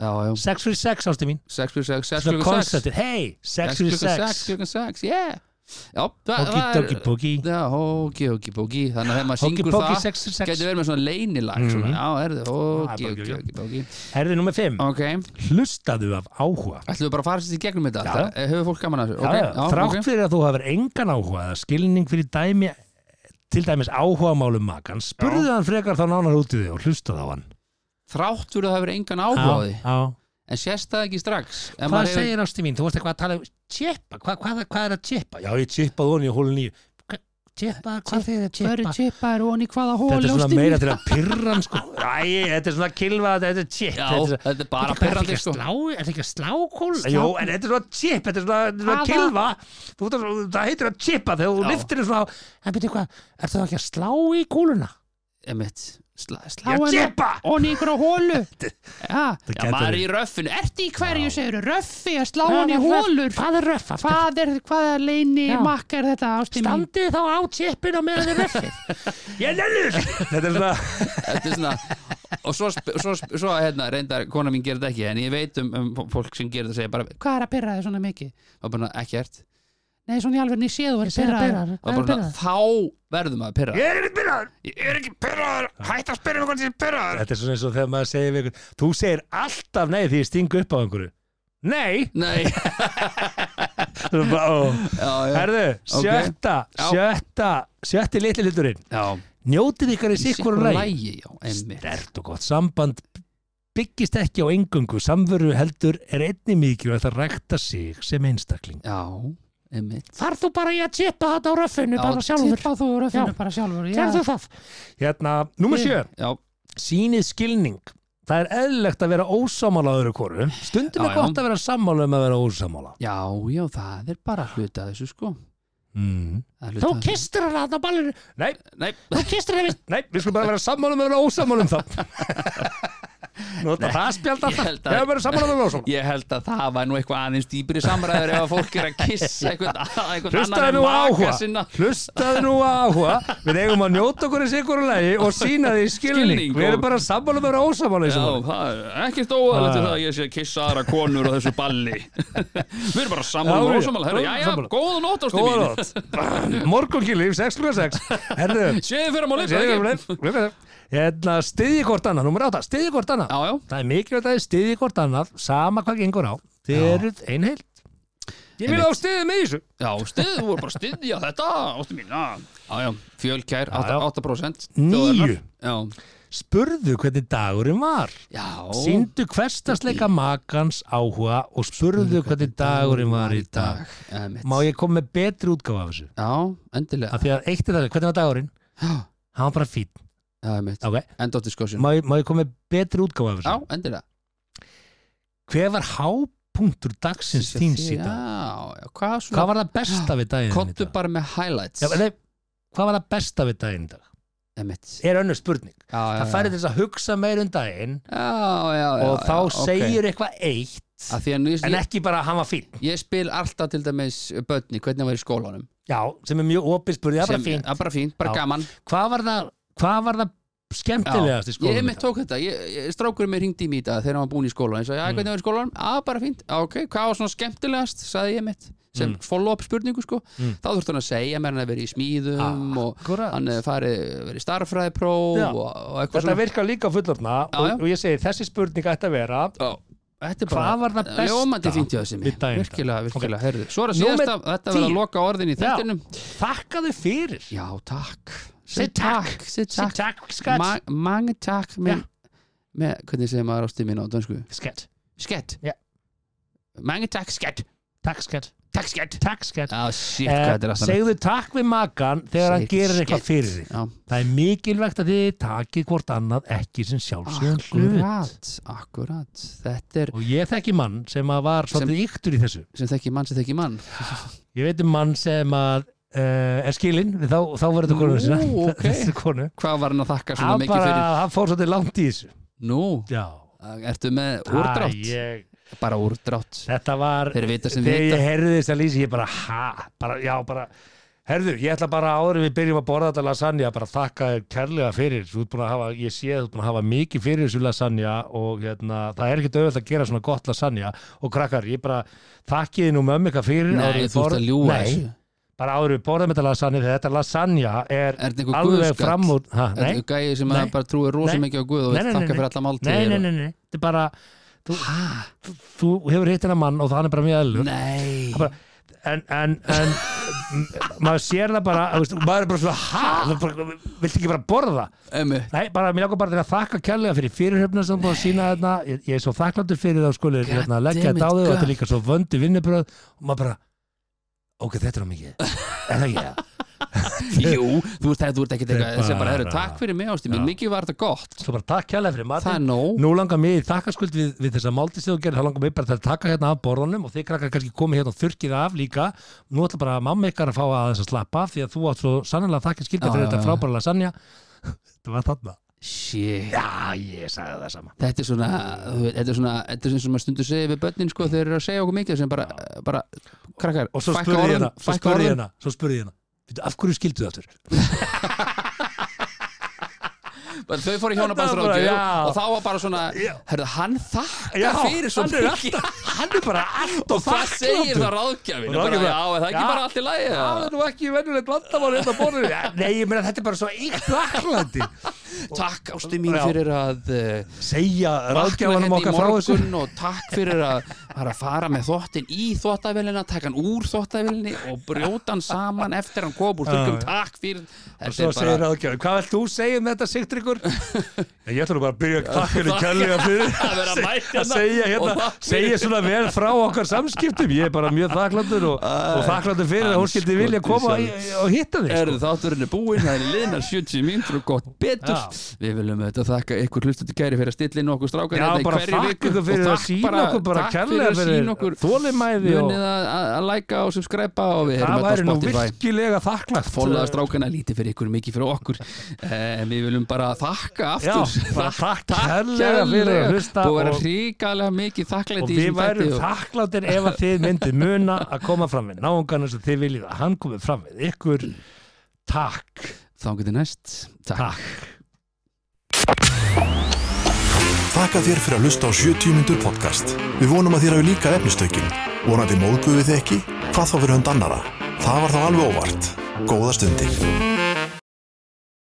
D: já, já
C: Sex fyrir sex ástu mín
D: 6 fyrir 6,
C: Svona
D: 6 fyrir 6
C: konceptið, hei, sex
D: 6
C: fyrir
D: fyrir 6
C: sex
D: klukkan 6, yeah Já, það
C: Hóki,
D: það er
C: tóki, bóki
D: Já, hóki, hóki, hóki Þannig að þegar maður
C: Hóki,
D: syngur
C: bóki,
D: það
C: sex fyrir
D: Gæti
C: sex
D: verið með svona leynilag svona.
C: Mhm.
D: Já, er það, hóki,
C: Ah,
D: hóki,
C: bóki,
D: hóki, hóki
C: Herði nummer 5
D: Ok,
C: Hlustaðu af áhuga
D: ætlum við bara að fara sér í gegnum þetta
C: Já.
D: Það- eh, Hefur fólk gaman að þessu?
C: Já,
D: Ok,
C: já, Þrátt
D: ok.
C: fyrir að þú hafur engan áhuga eða skilning fyrir dæmi til dæmis áhugamálum makan spurðu hann frekar þá nánar út í þig og hlustaðu á hann
D: Þrátt fyrir að það hefur engan
C: Já,
D: áhugaði
C: já.
D: En sést það ekki strax En
C: Hvað
D: maður hefur-
C: segir ástu mín? Þú varst eitthvað að tala um tjeppa, hvað, hvað, hvað er að tjeppa? Já, ég tjeppaði honi í hólun nýju Tjeppa, hvað þegar að
D: Hvað eru
C: tjeppa?
D: tippaðir og í hvaða hól
C: Þetta er svona
D: ástin
C: meira
D: mín?
C: til að pyrra hann sko Æ, þetta er svona kilva, þetta er tjepp
D: Já,
C: þetta er-
D: þetta er
C: Þetta
D: bara
C: er
D: perrandi
C: ekki að
D: sko
C: slá, er þetta ekki að slá kól?
D: Slá-
C: Jó, en þetta er svona chip, þetta er svona, þetta er svona
D: Hvaða-
C: kilva þú, það, það heitir að chipa þegar þú
D: Já.
C: liftir þér svona á- En betur hvað, er það ekki að slá í kúluna?
D: Emitt, slá,
C: Já,
D: slá henni
C: chipa!
D: og í ykkur á hólu já, já
C: gæti
D: maður er í
C: verið.
D: röffinu ertu í hverju, segir röffi að slá hann í hólur
C: Hvað er röff? Hvað
D: hvað er, hvað er leini
C: Já.
D: makka er þetta ástin mín
C: standið þá á chipin og meðan þið röffið? Ég nennur! Þetta er svona
D: þetta er svona og svo, sp- svo, sp- svo hérna, reyndar, kona mín gerir þetta ekki en ég veit um, um fólk sem gerir þetta segja bara, hvað er að pyrra þið svona mikið og bara, ekkert nei, svona í alveg ný séð þú verið
C: Pirraður,
D: pyrraður
C: hvað er
D: Og bara svona,
C: pirraður?
D: þá verðum að pyrra
A: Ég er ekki byrjaður,
D: ég er ekki
A: byrjaður, hætt að spyrja mig hvort ég er byrjaður
C: Þetta er svona eins og þegar maður segir við ykkur Þú segir alltaf nei því ég stingu upp á einhverju Nei!
D: nei,
C: Þú er bara, ó.
D: já, já,
C: Herðu,
D: Ok.
C: sjötta,
D: Já.
C: sjötta, sjötti litli hluturinn
D: já.
C: Njótið ykkar í sikkur læg
D: lægi já, einmitt
C: Stert og gott samband byggist ekki á engungu samveru heldur er einni mikilvægt að rækta sig sem einstakling.
D: já, einmitt
C: Þarf þú bara í að tippa þetta á röffinu
D: tippa þú röfinu bara sjálfur já.
C: það? Hérna, númer sjö,
D: já,
C: sýnið skilning. Það er eðlilegt að vera ósámála öðru koru. Stundum
D: Já,
C: er
D: já.
C: gott að vera sammála um að vera ósámála.
D: já, já, það er bara hluta af þessu sko
C: Mm.
D: Það er hluti af þessu.
C: kistir hana þarna á ballinu. Nei,
D: Nei,
C: þú kistir hana. Nei, við skulum bara vera sammála um að vera ósámála um það. Nota það spjald
D: ég
C: alltaf.
D: held
C: Ég
D: að
C: hef verið sammála um að vera ósámála.
D: Ég held að það var nú eitthvað aðeins dýpri samræður ef að fólk er að kissa eitthvað, eitthvað
C: Hlustaðu nú á áhuga Hlustaðu nú á áhuga Við eigum að njóta okkur í sigur lagi og sína því skilning,
D: Skilning
C: Við
D: og-
C: erum bara sammála um með ósamála í
D: Já,
C: þessu máli.
D: það er ekkert óæðilegt
C: Ah.
D: við það að ég sé að kissa aðra konur á þessu balli Við erum bara
C: Já,
D: sammála
C: já.
D: og ósammála Herra, já, já,
C: Sammála.
D: góða nótt ástu
C: Góða
D: mín
C: nótt Morgunkýlíf 6.6 Herðu
D: Séðu fyrir málið
C: séðu ykkur með- með það. Hérna stiði hvort annað Númer átta Stiði hvort annað
D: Já, já,
C: Það er mikilvægt að þið stiði hvort annað Sama hvað gengur á Þið
D: Já.
C: eruð einheilt Ég vil á stiðið með í þessu
D: já, stið, þú voru bara að styðja þetta ástu mín Já, já, já, fjölkær,
C: Já, já.
D: 8%, 8%
C: Níu.
D: þjóðarinnar.
C: Spurðu hvernig dagurinn var
D: Já, já
C: Sýndu hverstasleika makans áhuga og spurðu hvernig dagurinn var í dag Má ég Ah. koma með betri útgáfa af þessu?
D: Já, endilega
C: Af því að eitt er það, hvernig var dagurinn? Hann var bara fín.
D: Já, einmitt
C: Ok.
D: End of discussion
C: Má, ég- má ég koma með betri útgáfa af
D: Já,
C: þessu?
D: endilega
C: Hver var hápunktur dagsins þín síðan?
D: Já, já, hvað svona
C: Hvað var það besta við daginn? í
D: Kottu
C: dag?
D: bara með highlights
C: Já, nei, hvað var það besta við daginn í dag?
D: Emitt.
C: er önnur spurning
D: Já, já,
C: það
D: já.
C: færi til þess að hugsa meir um daginn
D: já, já, já,
C: og þá
D: já, ok.
C: segir eitthvað eitt
D: Af því að nú, ég,
C: en ekki bara að hann var fín
D: ég spil alltaf til dæmis börni, hvernig hann var í skólanum
C: já, sem er mjög opið spurning, það er bara
D: Sem-
C: fín
D: það er bara fínt, bara
C: Já.
D: gaman
C: hvað var það, hvað var það skemmtilegast í
D: ég hef
C: skólanum
D: mitt tók þetta, ég, ég, strákurinn mér hringdi í mig í dag þegar hann var búin í skólan, ég sagði,
C: Mm.
D: já, hvernig var í skólan að bara fínt, "Já, ok, hvað var svona skemmtilegast sagði ég mitt, sem
C: Mm.
D: follow-up spurningu sko. þá þurfti hann að segja mér hann að vera í smíðum og
C: Akkúrat.
D: hann eh, farið verið starffræðipróf
C: Ah. Já.
D: og, og eitthvað
C: þetta
D: svona
C: virkar líka á fullorna
D: Já, já.
C: og, og ég segi þessi spurning ætti að vera
D: Já. Þetta er bara
C: Hvað var það besta
D: Ljómandi fínt hjá þessi
C: við daginn í dag?
D: Virkilega, virkilega, heyrðu Svo er að
C: Númer
D: síðasta, þetta verður að
C: tíu.
D: loka orðin í þettinum
C: þakka þau fyrir
D: Já, takk
C: Sitt takk.
D: Sitt
C: Sitt
D: takk
C: takk, skett
D: Ma- Mange takk með,
C: Já.
D: með, hvernig segir maður á stimmin á dansku?
C: skett,
D: Skett
C: Já.
D: Mange takk, skett
C: takk skett,
D: Takk, skett
C: takk skett
D: Já, shit, hvað þetta er
C: Eh,
D: að
C: segðu takk við makan þegar hann
D: Shit,
C: gerir eitthvað
D: shit.
C: fyrir þig
D: Já,
C: það er mikilvægt að þið takið hvort annað ekki sem sjálfsögum hlut
D: akkurat, akkurat Þetta er
C: og ég þekki mann sem að var
D: Sem-
C: svolítið yktur í þessu
D: sem þekki mann sem þekki mann
C: ég veit um mann sem að uh, er skilinn, við þá, þá verður þetta konu
D: Nú,
C: sína
D: ok.
C: þessu konu
D: Hvað var hann að þakka svona
C: hann
D: mikið
C: bara,
D: fyrir?
C: hann fór svolítið langt í þessu
D: Nú,
C: já,
D: ertu með úrdrátt?
C: Æ, ég,
D: Bara úrdrátt
C: þetta var
D: Þeir vita sem
C: þegar
D: vita.
C: ég heyrði þess að lýsa ég bara, ha, bara, já, bara Herðu, ég ætla bara áður en við byrjum að borða þetta lasagna bara þakka þér kærlega fyrir þú ert búin að hafa, ég sé að þú ert búin að hafa mikið fyrir þessu lasagna og hérna, það er ekkert auðvitað að gera svona gott lasagna og krakkar, ég bara þakki þið nú mömmu eitthvað fyrir áður en
D: Nei,
C: við
D: þú ert
C: borð-
D: að ljúga
C: Nei,
D: þessu
C: bara áður en við borðum þetta lasagna þegar þetta lasagna er
D: Er þetta einhver
C: alveg
D: guðskatt?
C: fram úr ha,
D: Þetta
C: nei,
D: er gæði sem
C: Nei.
D: að bara trúir rosa
C: Nei.
D: mikið á Guð
C: Nei,
D: og vil
C: nei, nei,
D: þakka
C: nei.
D: fyrir alla
C: nei,
D: máltíðir
C: nei, nei, nei, þetta er bara þú, þú hefur hitt hennar mann og hann er bara mjög eðlur
D: Nei
C: bara, en, en, en m- maður sér það bara þú veist, maður er bara svona ha, þú bara, viltu ekki bara borða
D: Ömmu
C: nei, bara, mér ljókar bara til að þakka kærlega fyrir fyrirhöfna sem búið að sína þarna ég, ég er svo þakklandur fyrir þá skuli
D: God
C: hérna, leggja
D: damn it,
C: þetta á þig og þetta
D: God.
C: er líka svo vöndu vinnubröð og maður bara, ok, þetta er á mikið er það ekki það?
D: Jú, þú veist það, þú ert ekkert
C: Þetta er
D: eitthvað Þessi er bara,
C: bara-
D: herru, takk fyrir mig ástu mín Mikið var þetta gott
C: svo bara takk kærlega fyrir
D: Það er
C: matinn
D: nóg
C: Nú langar mig í þakkarskuld við, við þessa máldi sem þú gerir, þá langar mig bara til að taka hérna af borðunum og þið krakkar kannski komið hérna og þurkið af líka nú ætla bara mamma ykkar að fá aðeins að slappa af því að þú átt svo sannlega þakkir skilta
D: Já,
C: fyrir
D: já,
C: þetta
D: já.
C: frábæra lasagna Þetta var þarna
D: Shit
C: Já, ég sagði það sama
D: Þetta er svona, þú veit, þetta er svona, þetta er svona sem maður stundur segja við börnin, sko, þeir eru að segja okkur mikið sem bara, bara, krakkar,
C: Og svo
D: fækka
C: spurði ég
D: orðum,
C: hérna, svo
D: fækka
C: spurði ég
D: orðum.
C: hérna, svo spurði ég hérna "Veitu, Af hverju skildu það aftur?
D: Bara Þau fóru í
C: Þetta
D: hjónabandsrákju
C: var bara, já.
D: og þá var bara svona, herðu, hann
C: Já,
D: þakka fyrir svo
C: hann er
D: mikið.
C: alltaf, hann er bara allt
D: Og
C: og
D: hvað segir það
C: þakkláttur
D: ráðgjafin?
C: Og ráðgjafinn
D: Bara,
C: bara,
D: já, er það ekki
C: já.
D: bara allt í lagi?
C: Já, það
D: eða?
C: er nú ekki venjulegt landamál hérna á borðinu Já, Nei, ég meina þetta er bara svo ykt þakklandi
D: Takk ástu mín
C: Já.
D: fyrir að uh,
C: Segja ráðgjafanum
D: vakna hérna í
C: okkar frá þessu
D: morgun og takk fyrir að, að fara með þottin í þottavelina, taka hann úr þottavelinni og brjóta hann saman eftir hann kom úr þurrkum, takk fyrir
C: og svo segir ráðgjafin, hvað vilt þú segja um þetta Sigtryggur? ég ætla nú bara að byrja að takka henni kærlega fyrir
D: Að vera mætt hérna
C: að segja,
D: og
C: hérna,
D: takk fyrir.
C: segja svona vel frá okkar samskiptum ég er bara mjög þakklandur og, og þakklandur fyrir að hún skildi vilja koma í- og hitta þig
D: Er
C: sko.
D: þátturinn er búinn, það er liðnar 70 mínútur og gott betur
C: Já.
D: Við viljum þetta þakka ykkur hlustandi kæri fyrir að stilla inn okkur strákar
C: Já,
D: hérna í
C: bara
D: hverri
C: þakka
D: viku
C: þú fyrir að
D: og takk
C: sína okkur bara
D: takk
C: kærlega
D: að sýna okkur
C: fyrir þólimæði og
D: munið að, að, að læka og subscriba og við
C: það
D: erum
C: væri
D: þetta á
C: nú
D: Spotify
C: virkilega þakklægt
D: Fólaða strákana lítið fyrir ykkur, mikið fyrir okkur eh, Við viljum bara þakka
C: Já,
D: aftur
C: bara
D: Þakk-
C: takk kærlega fyrir að hlusta
D: Búið að vera
C: og-
D: hrikalega mikið
C: og
D: þakklæti í
C: við
D: þessum
C: værum
D: þætti og-
C: þakkláttir ef að þið myndið muna að koma fram við náungan eins og þið viljið að hann komið fram við ykkur takk,
D: Þangur til næst, takk
C: takk
B: Þakka þér fyrir að lusta á 70 mínútur podcast. Við vonum að þér hafi líka efnistökin. Vonandi móðguðu þið ekki? Hvað þá fyrir hund annara? Það var þá alveg óvart. Góða stundir.